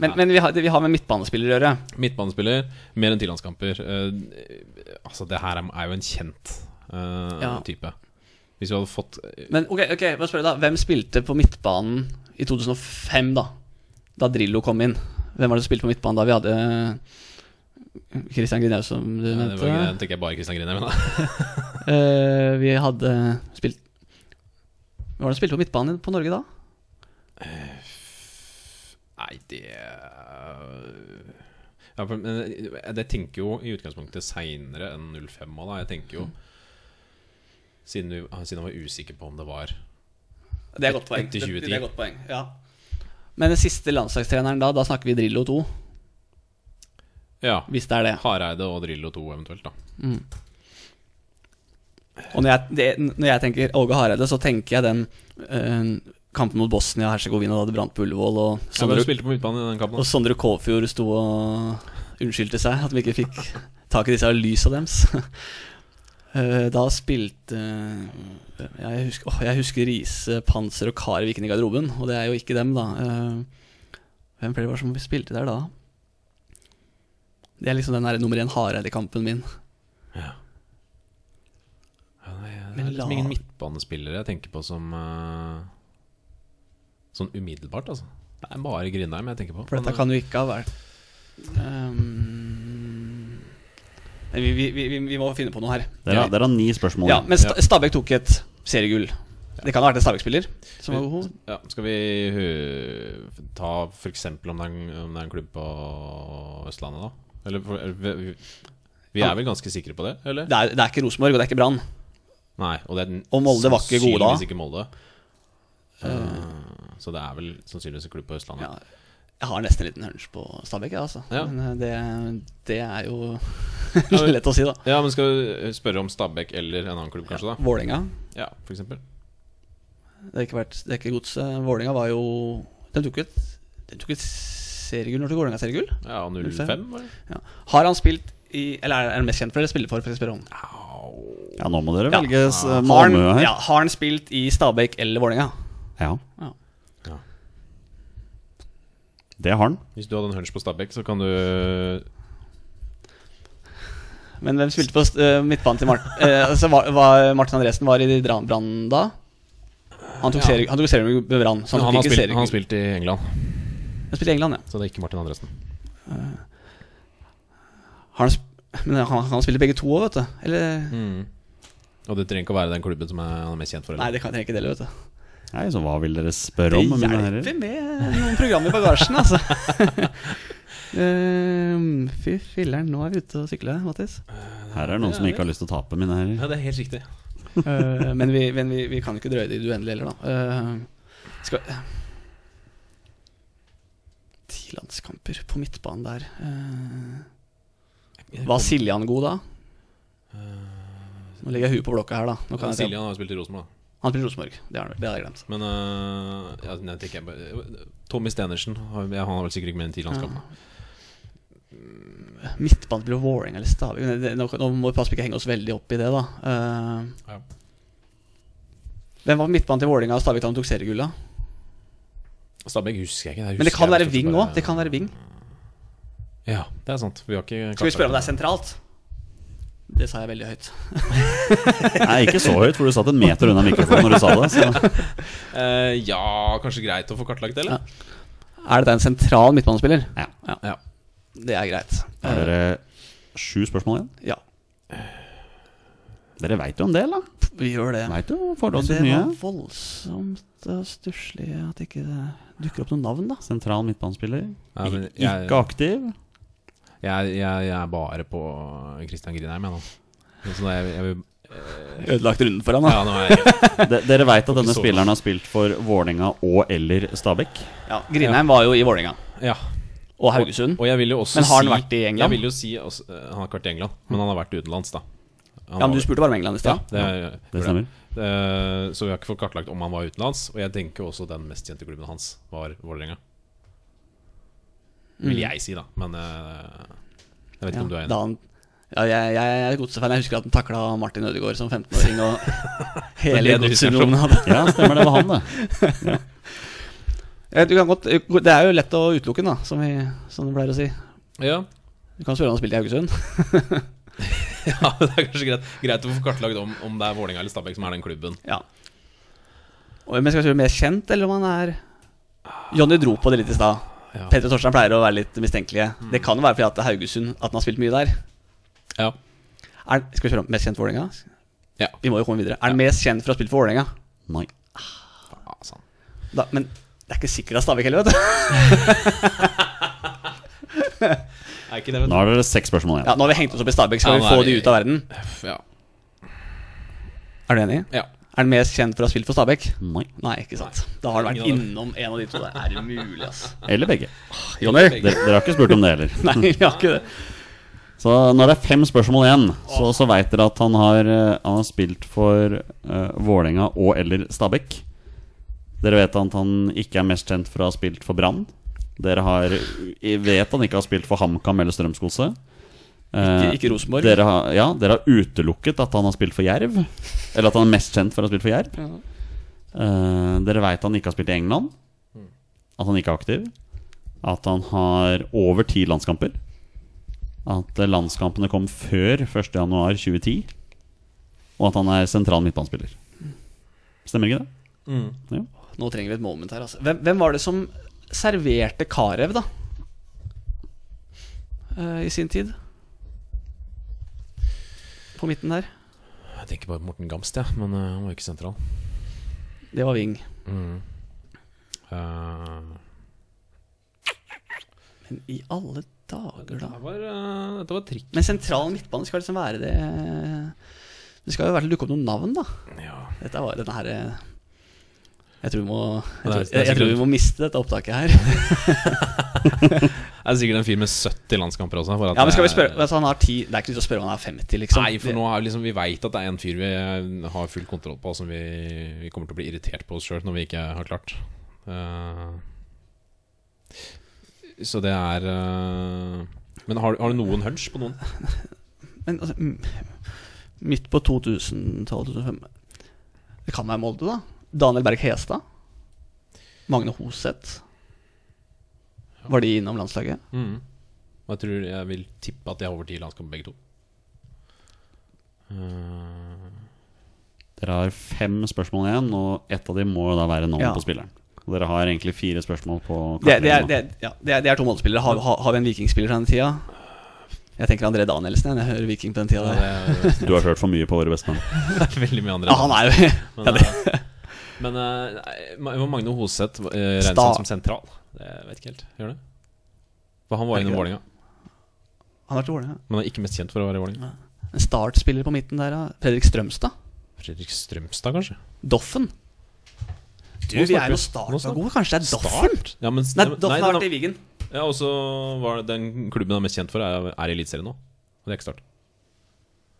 Speaker 3: Men, men vi, har, vi har med midtbanespiller å gjøre.
Speaker 1: Midtbanespiller, mer enn ti landskamper. Eh, altså, det her er, er jo en kjent eh,
Speaker 3: Ja.
Speaker 1: type. Hvis vi hadde fått
Speaker 3: Men ok, ok, bare spør deg da Hvem spilte på midtbanen i 2005, da? Da Drillo kom inn. Hvem var det som spilte på midtbanen da? Vi hadde eh, Christian Grinhaug, som du
Speaker 1: Nei, det
Speaker 3: nevnte.
Speaker 1: var ikke, det tenker jeg bare Christian Grine, men
Speaker 3: Eh, vi hadde spilt Hvem var det som spilte på midtbanen på Norge da?
Speaker 1: Nei, det ja, for, men, eh, Jeg tenker jo i utgangspunktet seinere enn 05 da. Jeg tenker jo siden, vi, ah, siden jeg var usikker på om det var
Speaker 3: Det er godt poeng.
Speaker 1: Etter 2010.
Speaker 3: Det, det er godt poeng. Ja. Men den siste landslagstreneren da, da snakker vi Drillo 2,
Speaker 1: Ja.
Speaker 3: hvis det er det.
Speaker 1: Hareide og Drillo 2 eventuelt, da.
Speaker 3: Og når jeg, det, når jeg tenker Åge Hareide, så tenker jeg den eh, kampen mot Bosnia-Hercegovina da det brant på Ullevål, og
Speaker 1: Ja, men
Speaker 3: Sondre,
Speaker 1: du spilte på midtbanen i den kampen.
Speaker 3: og
Speaker 1: da.
Speaker 3: Sondre Kåfjord sto og unnskyldte seg at vi ikke fikk tak i disse lysa deres. Eh, da spilte eh, jeg, husker, åh, jeg husker Riise, Panser og Karevik inn i garderoben, og det er jo ikke dem, da. Eh, hvem flere var det som spilte der da? Det er liksom den der nummer én Hareide-kampen min.
Speaker 1: Ja, nei, det
Speaker 3: Men
Speaker 1: er liksom
Speaker 3: la-
Speaker 1: ingen midtbanespillere jeg tenker på som eh, Sånn umiddelbart, altså. Det er bare Grindheim jeg tenker på.
Speaker 3: For dette
Speaker 1: Men,
Speaker 3: kan jo ikke ha vært Ehm, nei, vi, vi, vi, vi må finne på noe her.
Speaker 2: Dere, har- dere har ni spørsmål.
Speaker 3: Ja,
Speaker 2: igjen.
Speaker 3: Men Sta- Stabæk tok et seriegull. Det kan ha vært en Stabæk-spiller. som var god.
Speaker 1: Ja, skal vi eh, ta f.eks. om, det er en- om det er en klubb på Østlandet, da? Eller for, eller vi, vi er vel ganske sikre på det, eller?
Speaker 3: Det er, det er ikke Rosenborg, og det er ikke Brann.
Speaker 1: Nei. Og, det er den-
Speaker 3: Og Molde var ikke gode da.
Speaker 1: Sannsynligvis ikke Molde. Eh, så det er vel sannsynligvis en klubb på
Speaker 3: Ja,
Speaker 1: Østlandet.
Speaker 3: jeg har nesten en liten hunch på Stabæk, jeg, altså.
Speaker 1: Ja.
Speaker 3: Men eh, det, det er jo
Speaker 1: Ja, men-
Speaker 3: lett å si, da.
Speaker 1: Ja, men skal vi spørre om Stabæk eller en annen klubb, kanskje? da?
Speaker 3: Vålerenga.
Speaker 1: Ja, for eksempel.
Speaker 3: Det har ikke vært Det er ikke godset. Vålerenga var jo De tok et, de tok et seriegull når tok Vålerenga seriegull?
Speaker 1: Ja, 05,
Speaker 3: 05,
Speaker 1: var det?
Speaker 3: Ja. Har han spilt i Eller er er han mest kjent for det? Spiller for, for å spørre om
Speaker 2: Ja, nå må dere
Speaker 3: Ja.
Speaker 2: velge s- med
Speaker 3: Har
Speaker 2: omhu
Speaker 3: han,
Speaker 2: Ah, her.
Speaker 3: ja, har han spilt i Stabæk eller Vålerenga?
Speaker 2: Ja.
Speaker 3: Ja.
Speaker 1: Ja.
Speaker 2: Det har han.
Speaker 1: Hvis du hadde en hunch på Stabæk, så kan du
Speaker 3: Men hvem spilte på eh, midtbanen til Martin? altså, var, var Martin Andresen var i Dra- Brann da? Han tok serie- han tok seriegull med Brann. Så han,
Speaker 1: Men han, har
Speaker 3: fikk ikke
Speaker 1: spilt, han har
Speaker 3: seriegull.
Speaker 1: spilt i England,
Speaker 3: Han spilte i England, ja.
Speaker 1: så det er ikke Martin Andresen.
Speaker 3: Har han, sp- men han, han spiller begge to òg, vet du. Eller
Speaker 1: Mm. Og det trenger ikke å være den klubben som er, han er mest kjent for.
Speaker 3: Nei,
Speaker 1: eller?
Speaker 3: det kan jeg ikke dele, vet du.
Speaker 2: Nei, så hva vil dere spørre
Speaker 3: Det
Speaker 2: om, mine herrer?
Speaker 3: hjelper med noen program i bagasjen, altså. Eh, Fy filleren, nå er vi ute og sykler, Mattis.
Speaker 2: Her er noen som ikke har lyst til å tape, mine herrer.
Speaker 1: Ja, det er helt riktig.
Speaker 3: Eh, men vi, men vi, vi kan jo ikke drøye det i det uendelige heller, da. Eh, skal Ti landskamper på midtbanen der. Eh, var Siljan god da? Eh, Nå legger jeg huet på blokka her, da. Nå kan jeg
Speaker 1: Siljan har jo spilt i Rosenborg, da.
Speaker 3: han spiller Rosenborg. Det har han- det har jeg glemt.
Speaker 1: men øh, ja, nei, tenker jeg bare Tommy Stenersen har, ja, han har vel sikkert ikke mer enn ti landskamper.
Speaker 3: Midtbanespiller Eh, Vålerenga eller Stabæk Men det- Nå, nå må vi passe på ikke henge oss veldig opp i det, da. Eh,
Speaker 1: Ja.
Speaker 3: Hvem var på midtbanen til Vålerenga og Stabæk da de tok seriegull, da?
Speaker 1: Stabæk husker jeg ikke.
Speaker 3: Men det kan være Ving òg. Det kan være Ving.
Speaker 1: Ja, det er sant. Vi har ikke
Speaker 3: Skal vi spørre om det er sentralt? Det sa jeg veldig høyt.
Speaker 2: Nei, ikke så høyt, for du satt en meter unna mikrofonen når du sa det. Så.
Speaker 1: Eh, ja, kanskje greit å få kartlagt det, eller?
Speaker 3: Er dette en sentral midtbanespiller?
Speaker 2: Ja.
Speaker 1: Ja.
Speaker 3: Det er greit. Eh,
Speaker 2: Er dere sju spørsmål igjen?
Speaker 3: Ja,
Speaker 2: Dere veit jo en del, da.
Speaker 3: vi gjør det.
Speaker 2: Vet jo
Speaker 3: Men
Speaker 2: forholdsvis
Speaker 3: det
Speaker 2: mye.
Speaker 3: var voldsomt eh, stusslig at ikke det dukker opp noen navn, da.
Speaker 2: Sentral midtbanespiller.
Speaker 1: Ja, men
Speaker 2: Ik-
Speaker 1: jeg-
Speaker 2: Ikke aktiv.
Speaker 1: Jeg, jeg, jeg er bare på Christian Grindheim, jeg nå. Så da jeg, jeg vil
Speaker 3: Ødelagt runden for ham,
Speaker 1: Ja, nå er jeg
Speaker 2: De, dere veit at denne
Speaker 1: så-
Speaker 2: spilleren har spilt for Vålerenga og eller Stabæk.
Speaker 3: Ja, Grindheim var jo i Vålerenga.
Speaker 1: Ja.
Speaker 3: Og Haugesund.
Speaker 1: Og jeg vil jo også
Speaker 3: Men har han
Speaker 1: si,
Speaker 3: vært i England?
Speaker 1: Jeg vil jo si også, eh, Han har ikke vært i England, men han har vært utenlands, da. Han
Speaker 3: Ja, men
Speaker 1: var-
Speaker 3: Du spurte bare om England i
Speaker 1: ja,
Speaker 3: stad.
Speaker 1: det,
Speaker 2: Det stemmer.
Speaker 1: Eh, så vi har ikke fått kartlagt om han var utenlands. Og jeg tenker også den mest kjente klubben hans var Vålerenga. Vil jeg si, da. Men eh, jeg vet ikke om du er enig.
Speaker 3: da han, ja, jeg, jeg er godsefan. Jeg husker at han takla Martin Ødegaard som 15-åring. Og hele
Speaker 1: Det er det du husker,
Speaker 3: godsunionen hadde
Speaker 2: Ja, stemmer det var han, det.
Speaker 3: Eh, du kan godt, Det er jo lett å utelukke den, da, som, vi, som du pleier å si.
Speaker 1: Ja,
Speaker 3: Du kan spørre om han spilte i Haugesund.
Speaker 1: ja, det er kanskje greit, greit å få kartlagt om, om det er Vålerenga eller Stabæk som er den klubben.
Speaker 3: Ja Og- Men skal vi spørre mer kjent, eller om han er Jonny dro på det litt i stad.
Speaker 1: Ja. Mm.
Speaker 3: Petter Torstein pleier å være litt mistenkelige. Det kan jo være fordi at det er Haugesund at han har spilt mye der.
Speaker 1: Ja.
Speaker 3: Er, skal vi spørre om mest kjent for Vålerenga?
Speaker 1: Ja.
Speaker 3: Vi må jo komme videre. Er han mest kjent for å ha spilt for Vålerenga?
Speaker 2: Nei.
Speaker 1: Ah, sant.
Speaker 3: Da- Men det er ikke sikkert det er Stabæk heller, vet du.
Speaker 1: Er ikke det, vet
Speaker 2: Nå har dere seks spørsmål
Speaker 3: Ja,
Speaker 2: igjen.
Speaker 3: nå har vi hengt oss opp i Stabæk, skal
Speaker 1: Ja,
Speaker 3: vi
Speaker 1: nå er
Speaker 3: få
Speaker 1: vi-
Speaker 3: de ut av verden?
Speaker 1: du. Ja.
Speaker 3: Er du enig?
Speaker 1: ja. Mm.
Speaker 3: Er han mest kjent for å ha spilt for Stabæk?
Speaker 2: Nei.
Speaker 3: Nei, ikke sant. Da har han vært
Speaker 1: Ingen
Speaker 3: innom en av de to. Det er umulig, ass.
Speaker 2: Eller begge.
Speaker 3: Jonny?
Speaker 2: Dere, dere har ikke spurt om det heller.
Speaker 3: Nei, vi har ikke det.
Speaker 2: Så når det er fem spørsmål igjen, så, så veit dere at han har, eh, han har spilt for eh, Vålerenga og eller Stabæk. Dere vet at han ikke er mest kjent for å ha spilt for Brann. Dere har, vet han ikke har spilt for HamKam eller Strømskose. Eh,
Speaker 3: Ikke- ikke Rosenborg.
Speaker 2: Dere har, ja, dere har utelukket at han har spilt for Jerv. Eller at han er mest kjent for å ha spilt for Jerv. Eh, dere veit han ikke har spilt i England.
Speaker 3: Mm.
Speaker 2: At han ikke er aktiv. At han har over ti landskamper. At eh, landskampene kom før 1.1.2010. Og at han er sentral midtbanespiller. Stemmer ikke det? Ja.
Speaker 3: Nå trenger vi et moment her, altså. Hvem, hvem var det som serverte Karev, da? Eh, I sin tid? På midten der.
Speaker 1: Jeg tenker bare på Morten Gamst, ja, men eh, han var jo ikke sentral.
Speaker 3: Det var Ving.
Speaker 1: Eh,
Speaker 3: Men i alle dager, da.
Speaker 1: det var, eh, dette var trikk.
Speaker 3: Men sentral midtbane skal liksom være det eh, Det skal jo i hvert fall dukke opp noen navn, da.
Speaker 1: Ja.
Speaker 3: Dette var denne her eh, Jeg tror vi må jeg
Speaker 1: Det er-
Speaker 3: tror,
Speaker 1: det er
Speaker 3: jeg, jeg tror vi må miste dette opptaket her.
Speaker 1: Det er sikkert en fyr med 70 landskamper også. For at
Speaker 3: Ja, men skal vi
Speaker 1: det er-
Speaker 3: spørre altså, han har 10 Det er ikke lyst til å spørre om han er 50, liksom.
Speaker 1: Nei, for nå er liksom, vi veit at det er en fyr vi eh, har full kontroll på, som vi, vi kommer til å bli irritert på oss sjøl når vi ikke har klart. Eh, så det er eh, Men har, du- har du noen hunch på noen?
Speaker 3: Men altså, mm, midt på 2000-2005 Det kan være Molde, da. Daniel Berg Hestad. Magne Hoseth. Var de innom landslaget?
Speaker 1: Og Jeg Mm. tror jeg vil tippe at de har over ti landskamper, begge to. Eh,
Speaker 2: Dere har fem spørsmål igjen, og ett av dem må jo da være navnet
Speaker 3: Ja.
Speaker 2: på spilleren. Og dere har egentlig fire spørsmål på
Speaker 3: Det, det, er,
Speaker 2: kartleggingen nå.
Speaker 3: det, er, ja, det, er, det er to Molde-spillere. Har, har, har vi en vikingspiller fra den tida? Jeg tenker André Danielsen jeg, når jeg hører Viking på den tida. Der.
Speaker 1: Det
Speaker 2: Du har hørt for mye på våre bestemenn.
Speaker 1: er veldig mye andre.
Speaker 3: Ja, han er jo
Speaker 1: Men, eh, men eh, nei, Ma- var Magne Hoseth eh, regnes
Speaker 3: Sta-
Speaker 1: han som sentral? Det vet ikke helt. Gjør det? For han var
Speaker 3: Er det
Speaker 1: innom
Speaker 3: ikke
Speaker 1: Vålerenga,
Speaker 3: Han har vært i Vålerenga.
Speaker 1: men han er ikke mest kjent for å være i Vålerenga.
Speaker 3: En startspiller på midten der, da. Fredrik Strømstad.
Speaker 1: Fredrik Strømstad, kanskje?
Speaker 3: Doffen. Du,
Speaker 1: Nå
Speaker 3: vi
Speaker 1: snakker
Speaker 3: er jo
Speaker 1: vi- nå snakker-
Speaker 3: startgode. Kanskje det er Doffen?
Speaker 1: Start? Ja, men,
Speaker 3: Nei, Doffen har
Speaker 1: nei,
Speaker 3: vært i Vigen.
Speaker 1: Ja, og så var det den klubben han er mest kjent for, er, er i Eliteserien nå. Og det er ikke Start.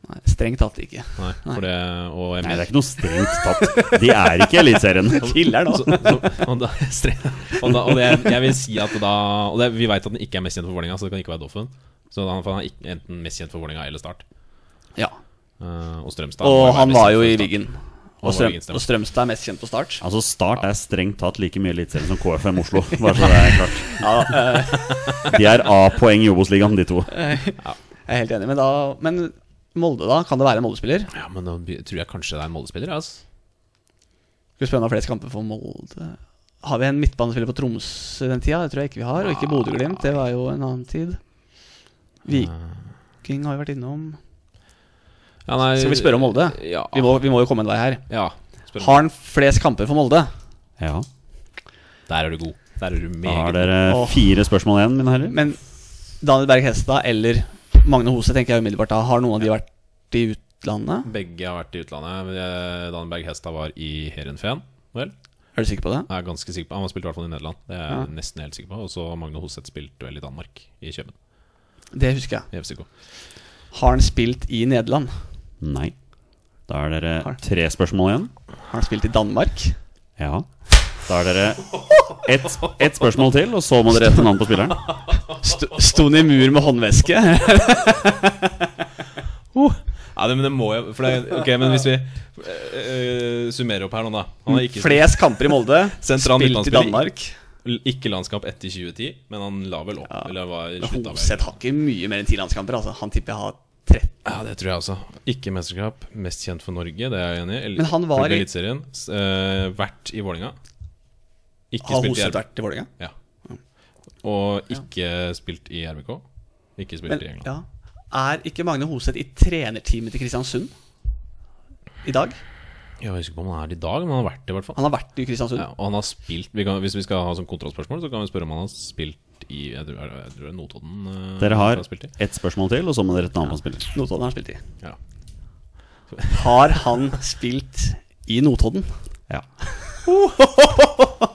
Speaker 3: Nei, strengt tatt ikke.
Speaker 1: Nei, for det og
Speaker 2: Nei, det
Speaker 1: jeg mener-
Speaker 2: er ikke noe strengt tatt. De er ikke i Eliteserien.
Speaker 1: Så- så- Og, da, stre- og, da, og det, jeg vil si at da Og det, vi veit at han ikke er mest kjent for Vålerenga, så det kan ikke være Doffen. Så han, for han er ikke, enten mest kjent for Vålerenga eller Start.
Speaker 3: Ja.
Speaker 1: Eh, og Strømstad. må
Speaker 3: Og
Speaker 1: jo være
Speaker 3: han
Speaker 1: mest
Speaker 3: var
Speaker 1: kjent
Speaker 3: jo
Speaker 1: for
Speaker 3: i
Speaker 1: Start.
Speaker 3: Wiggen.
Speaker 1: var
Speaker 3: Og,
Speaker 1: i
Speaker 3: strøm,
Speaker 1: Wiggen, stemmer.
Speaker 3: og Strømstad er mest kjent på start.
Speaker 2: Altså, Start er strengt tatt like mye Eliteserien som KFM Oslo. Bare så det er klart. De er A-poeng i Obos-ligaen, de to.
Speaker 3: Jeg er helt enig, men da Men Molde, da? Kan det være en Molde-spiller?
Speaker 1: Ja, men da by- tror jeg kanskje det er en Molde-spiller. ja, Altså.
Speaker 3: Skal vi spørre om han har flest kamper for Molde? Har vi en midtbanespiller på Tromsø den tida? Det tror jeg ikke vi har. Og ikke Bodø-Glimt. Det var jo en annen tid. Viking har vi vært innom.
Speaker 1: Ja, nei,
Speaker 3: Skal vi spørre om Molde?
Speaker 1: Ja.
Speaker 3: Vi må, vi må jo komme en vei her.
Speaker 1: ja spør om-
Speaker 3: Har han flest kamper for Molde?
Speaker 2: Ja.
Speaker 1: Der er du god. Der er du
Speaker 2: Da har
Speaker 1: meget god.
Speaker 2: dere
Speaker 3: Åh.
Speaker 2: fire spørsmål igjen, mine herrer.
Speaker 3: Men Daniel Berg Hestad eller Magne Hose tenker jeg umiddelbart da. Har noen av de vært i utlandet?
Speaker 1: Begge har vært i utlandet. Eh, Dannenberg Hestad var i Heerenveen, vel?
Speaker 3: Er du sikker på det?
Speaker 1: Jeg er ganske sikker på Han spilte i hvert fall i Nederland. Det er
Speaker 3: Ja.
Speaker 1: jeg nesten helt sikker på Og så Magne Hoseth spilte vel i Danmark, i Kjøben.
Speaker 3: Det husker jeg.
Speaker 1: I FCK.
Speaker 3: Har han spilt i Nederland?
Speaker 2: Nei. Da er dere
Speaker 3: Har.
Speaker 2: tre spørsmål igjen.
Speaker 3: Har han spilt i Danmark?
Speaker 2: Ja. Da er dere ett ett spørsmål til, og så må dere gjette navnet på spilleren.
Speaker 3: Sto, sto han i mur med håndveske?
Speaker 1: Ja, det, men det må jo for det, Ok, men hvis vi eh, eh, summerer opp her nå, da. Han har ikke,
Speaker 3: Flest kamper i Molde.
Speaker 1: Sentral
Speaker 3: spilt i
Speaker 1: midtbanespiller.
Speaker 3: Danmark.
Speaker 1: ikke landskamp etter 2010, men han la vel opp Eller var i slutt av
Speaker 3: Hoseth har ikke mye mer enn ti landskamper. Altså. Han tipper jeg har 13.
Speaker 1: Ja, det tror jeg også. Ikke mesterskap. Mest kjent for Norge, det er jeg enig i. Eller-
Speaker 3: Men han var
Speaker 1: Fulgt
Speaker 3: i-
Speaker 1: Eliteserien. s- eh, vært i Vålinga Ikke
Speaker 3: Har
Speaker 1: spilt i
Speaker 3: Hoseth
Speaker 1: RBK.
Speaker 3: vært i Vålerenga?
Speaker 1: Ja. Og ikke spilt i RBK. Ikke spilt
Speaker 3: Men
Speaker 1: i England.
Speaker 3: ja. Er ikke Magne Hoseth i trenerteamet til Kristiansund i dag?
Speaker 1: Jeg husker ikke om han er det i dag, men han har vært det i hvert fall.
Speaker 3: Han har vært i Kristiansund.
Speaker 1: Ja, og han har spilt vi kan, Hvis vi skal ha sånn kontrastspørsmål, så kan vi spørre om han har spilt i jeg tror, jeg tror det er Notodden. eh,
Speaker 2: Dere
Speaker 1: han
Speaker 2: har
Speaker 1: har spilt i.
Speaker 2: ett spørsmål til, og så må dere gjette navnet på spilleren.
Speaker 3: Notodden har han spilt i.
Speaker 1: Ja.
Speaker 3: Har han spilt i Notodden?
Speaker 2: Ja.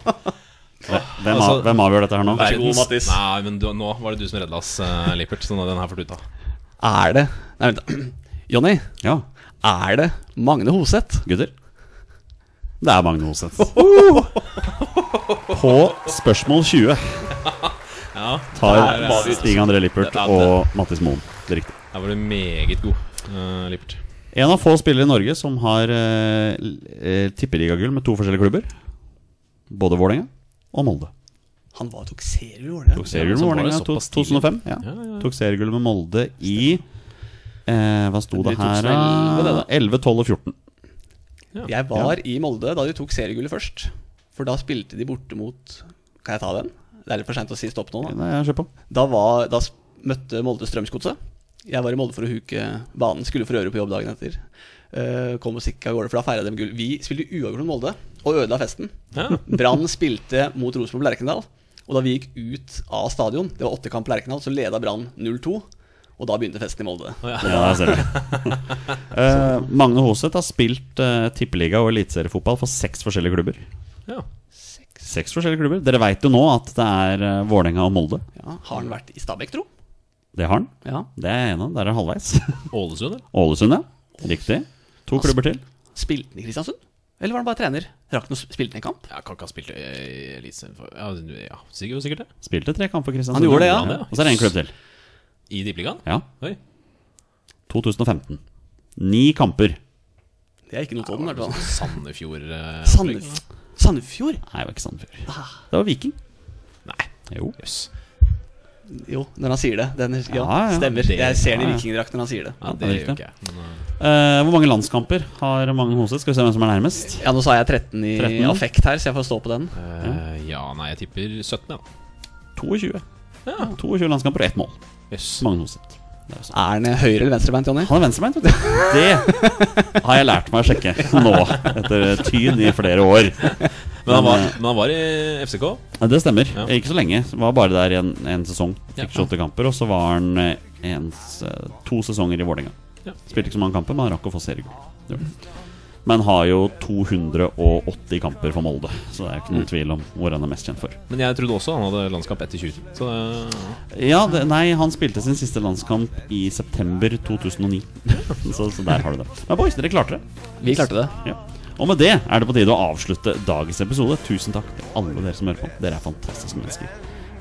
Speaker 2: Hvem, av,
Speaker 1: Altså-
Speaker 2: hvem avgjør dette her nå?
Speaker 3: Vær så god,
Speaker 1: Verdens-
Speaker 3: Mattis.
Speaker 1: Nei, men du, nå var det du som redda oss, eh, Lippert. Så nå, den her får du ta.
Speaker 3: Er det Nei, vent, da. Jonny.
Speaker 2: Ja,
Speaker 3: Er det Magne Hoseth?
Speaker 2: gutter. Det er Magne Hoseth. På spørsmål 20
Speaker 1: Ja,
Speaker 2: tar
Speaker 1: Der var vi-
Speaker 2: Stig André Lippert
Speaker 1: Der- der-
Speaker 2: og Mattis Moen det riktig.
Speaker 1: Der var du meget god, eh, Lippert.
Speaker 2: En av få spillere i Norge som har eh, l- eh, tippeligagull med to forskjellige klubber. Både Vålerenga og Molde.
Speaker 3: Han var tok seriegull, gjorde han
Speaker 2: Tok
Speaker 3: ikke?
Speaker 2: seriegull med
Speaker 1: så var det
Speaker 2: Vålerenga i
Speaker 1: såpass tidlig.
Speaker 2: 2005. Ja.
Speaker 1: Ja, ja, ja.
Speaker 2: Tok seriegull med Molde i eh, Hva sto det
Speaker 3: Det blir
Speaker 2: her?
Speaker 3: 2011 det da.
Speaker 2: 11, 12 og 14.
Speaker 3: Jeg var i Molde da de tok seriegullet først. For da spilte de borte mot Kan jeg ta den? Det er litt for seint å si stopp nå, da.
Speaker 2: Nei, jeg kjører på.
Speaker 3: Da, var, da s- møtte Molde Strømsgodset. Jeg var i Molde for å huke banen. Skulle for øvrig på jobb dagen etter. Eh, kom oss ikke av gårde, for da feira de gull. Vi spilte uavgjort mot Molde og ødela festen.
Speaker 1: Ja.
Speaker 3: Brann spilte mot Rosenborg på Lerkendal. Og da vi gikk ut av stadion, det var åttekamp på Lerkendal, så leda Brann 0-2. Og da begynte festen i Molde.
Speaker 2: Ja, der ser du. Eh, Magne Hoseth har spilt eh, tippeliga og eliteseriefotball for seks forskjellige klubber.
Speaker 1: Ja.
Speaker 2: Seks forskjellige klubber Dere veit jo nå at det er eh, Vålerenga og Molde.
Speaker 3: Ja, har han vært i Stabæk, tro?
Speaker 2: Det har han.
Speaker 3: Ja.
Speaker 2: Det er jeg enig i. Der er halvveis.
Speaker 1: Ålesund, eller?
Speaker 2: Ålesund, ja. Riktig. To klubber til.
Speaker 3: Spilte han i Kristiansund? Eller var han bare trener? Rakk han å sp- spilte han en kamp?
Speaker 1: Ja, kan ikke ha spilt i Eliteserien for Ja, ja sikkert, sikkert det.
Speaker 2: Spilte tre kamper for Kristiansund.
Speaker 3: Han gjorde det, ja.
Speaker 2: Og så er det én klubb til.
Speaker 1: I Tippeligaen?
Speaker 2: Ja.
Speaker 1: Oi.
Speaker 2: 2015. Ni kamper.
Speaker 3: Det er ikke Notodden, i hvert fall.
Speaker 1: Sånn Sandefjord eh,
Speaker 3: Sandef Sandefjord?
Speaker 2: Nei, det var ikke Sandefjord.
Speaker 3: Ah.
Speaker 2: Det var Viking.
Speaker 1: Nei.
Speaker 2: Jo.
Speaker 1: Jøss.
Speaker 3: Jo, når han sier det. Den, ja,
Speaker 2: Ja, ja,
Speaker 3: stemmer.
Speaker 1: det-
Speaker 3: jeg ser den i
Speaker 2: ja, ja.
Speaker 3: vikingdrakt når han sier det.
Speaker 1: Ja,
Speaker 2: Ja,
Speaker 1: det
Speaker 2: det er
Speaker 1: gjør
Speaker 2: riktig.
Speaker 1: ikke jeg. Men, eh,
Speaker 2: Eh, hvor mange landskamper har Magne Hoseth? Skal vi se hvem som er nærmest.
Speaker 3: Ja, nå sa jeg 13 i
Speaker 2: 13.
Speaker 3: affekt her, så jeg får stå på den.
Speaker 1: eh, ja, nei, jeg tipper 17, ja.
Speaker 2: 22.
Speaker 1: Ja.
Speaker 2: 22 landskamper og ett mål.
Speaker 1: Jøss.
Speaker 2: Magne Hoseth. Det er jo sant.
Speaker 3: Er han høyre- eller venstrebeint, Jonny?
Speaker 2: Han er venstrebeint, vet du. Det har jeg lært meg å sjekke nå, etter tyn i flere år.
Speaker 1: Men, eh, han var,
Speaker 2: Men,
Speaker 1: men han var i FCK.
Speaker 2: Ja, Det stemmer.
Speaker 1: Ja.
Speaker 2: Ikke så lenge. Var bare der i en, en sesong.
Speaker 1: Ja.
Speaker 2: Fikk 28 kamper, og så var han eh, en, s- eh, to sesonger i Vålerenga.
Speaker 1: Ja.
Speaker 2: Spilte ikke så mange kamper, men han rakk å få seriegull. Det gjorde han. Men har jo 280 kamper for Molde, så det er jo
Speaker 1: Mm.
Speaker 2: ikke noen tvil om hvor han er mest kjent for.
Speaker 1: Men jeg trodde også han hadde landskamp etter 2010. Så eh, det,
Speaker 2: Ja, det, nei, han spilte sin siste landskamp i september 2009, så, så der har du det. Men boys, dere klarte det.
Speaker 3: Vi klarte det.
Speaker 2: Ja. Og med det er det på tide å avslutte dagens episode. Tusen takk til alle dere som hører på. Dere er fantastiske mennesker.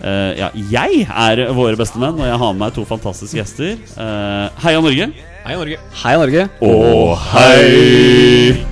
Speaker 2: Eh, ja, jeg er våre beste menn, og jeg har med meg to fantastiske gjester. Eh, heia Norge!
Speaker 1: Hei, Norge.
Speaker 3: Hei, Norge.
Speaker 2: Og hei!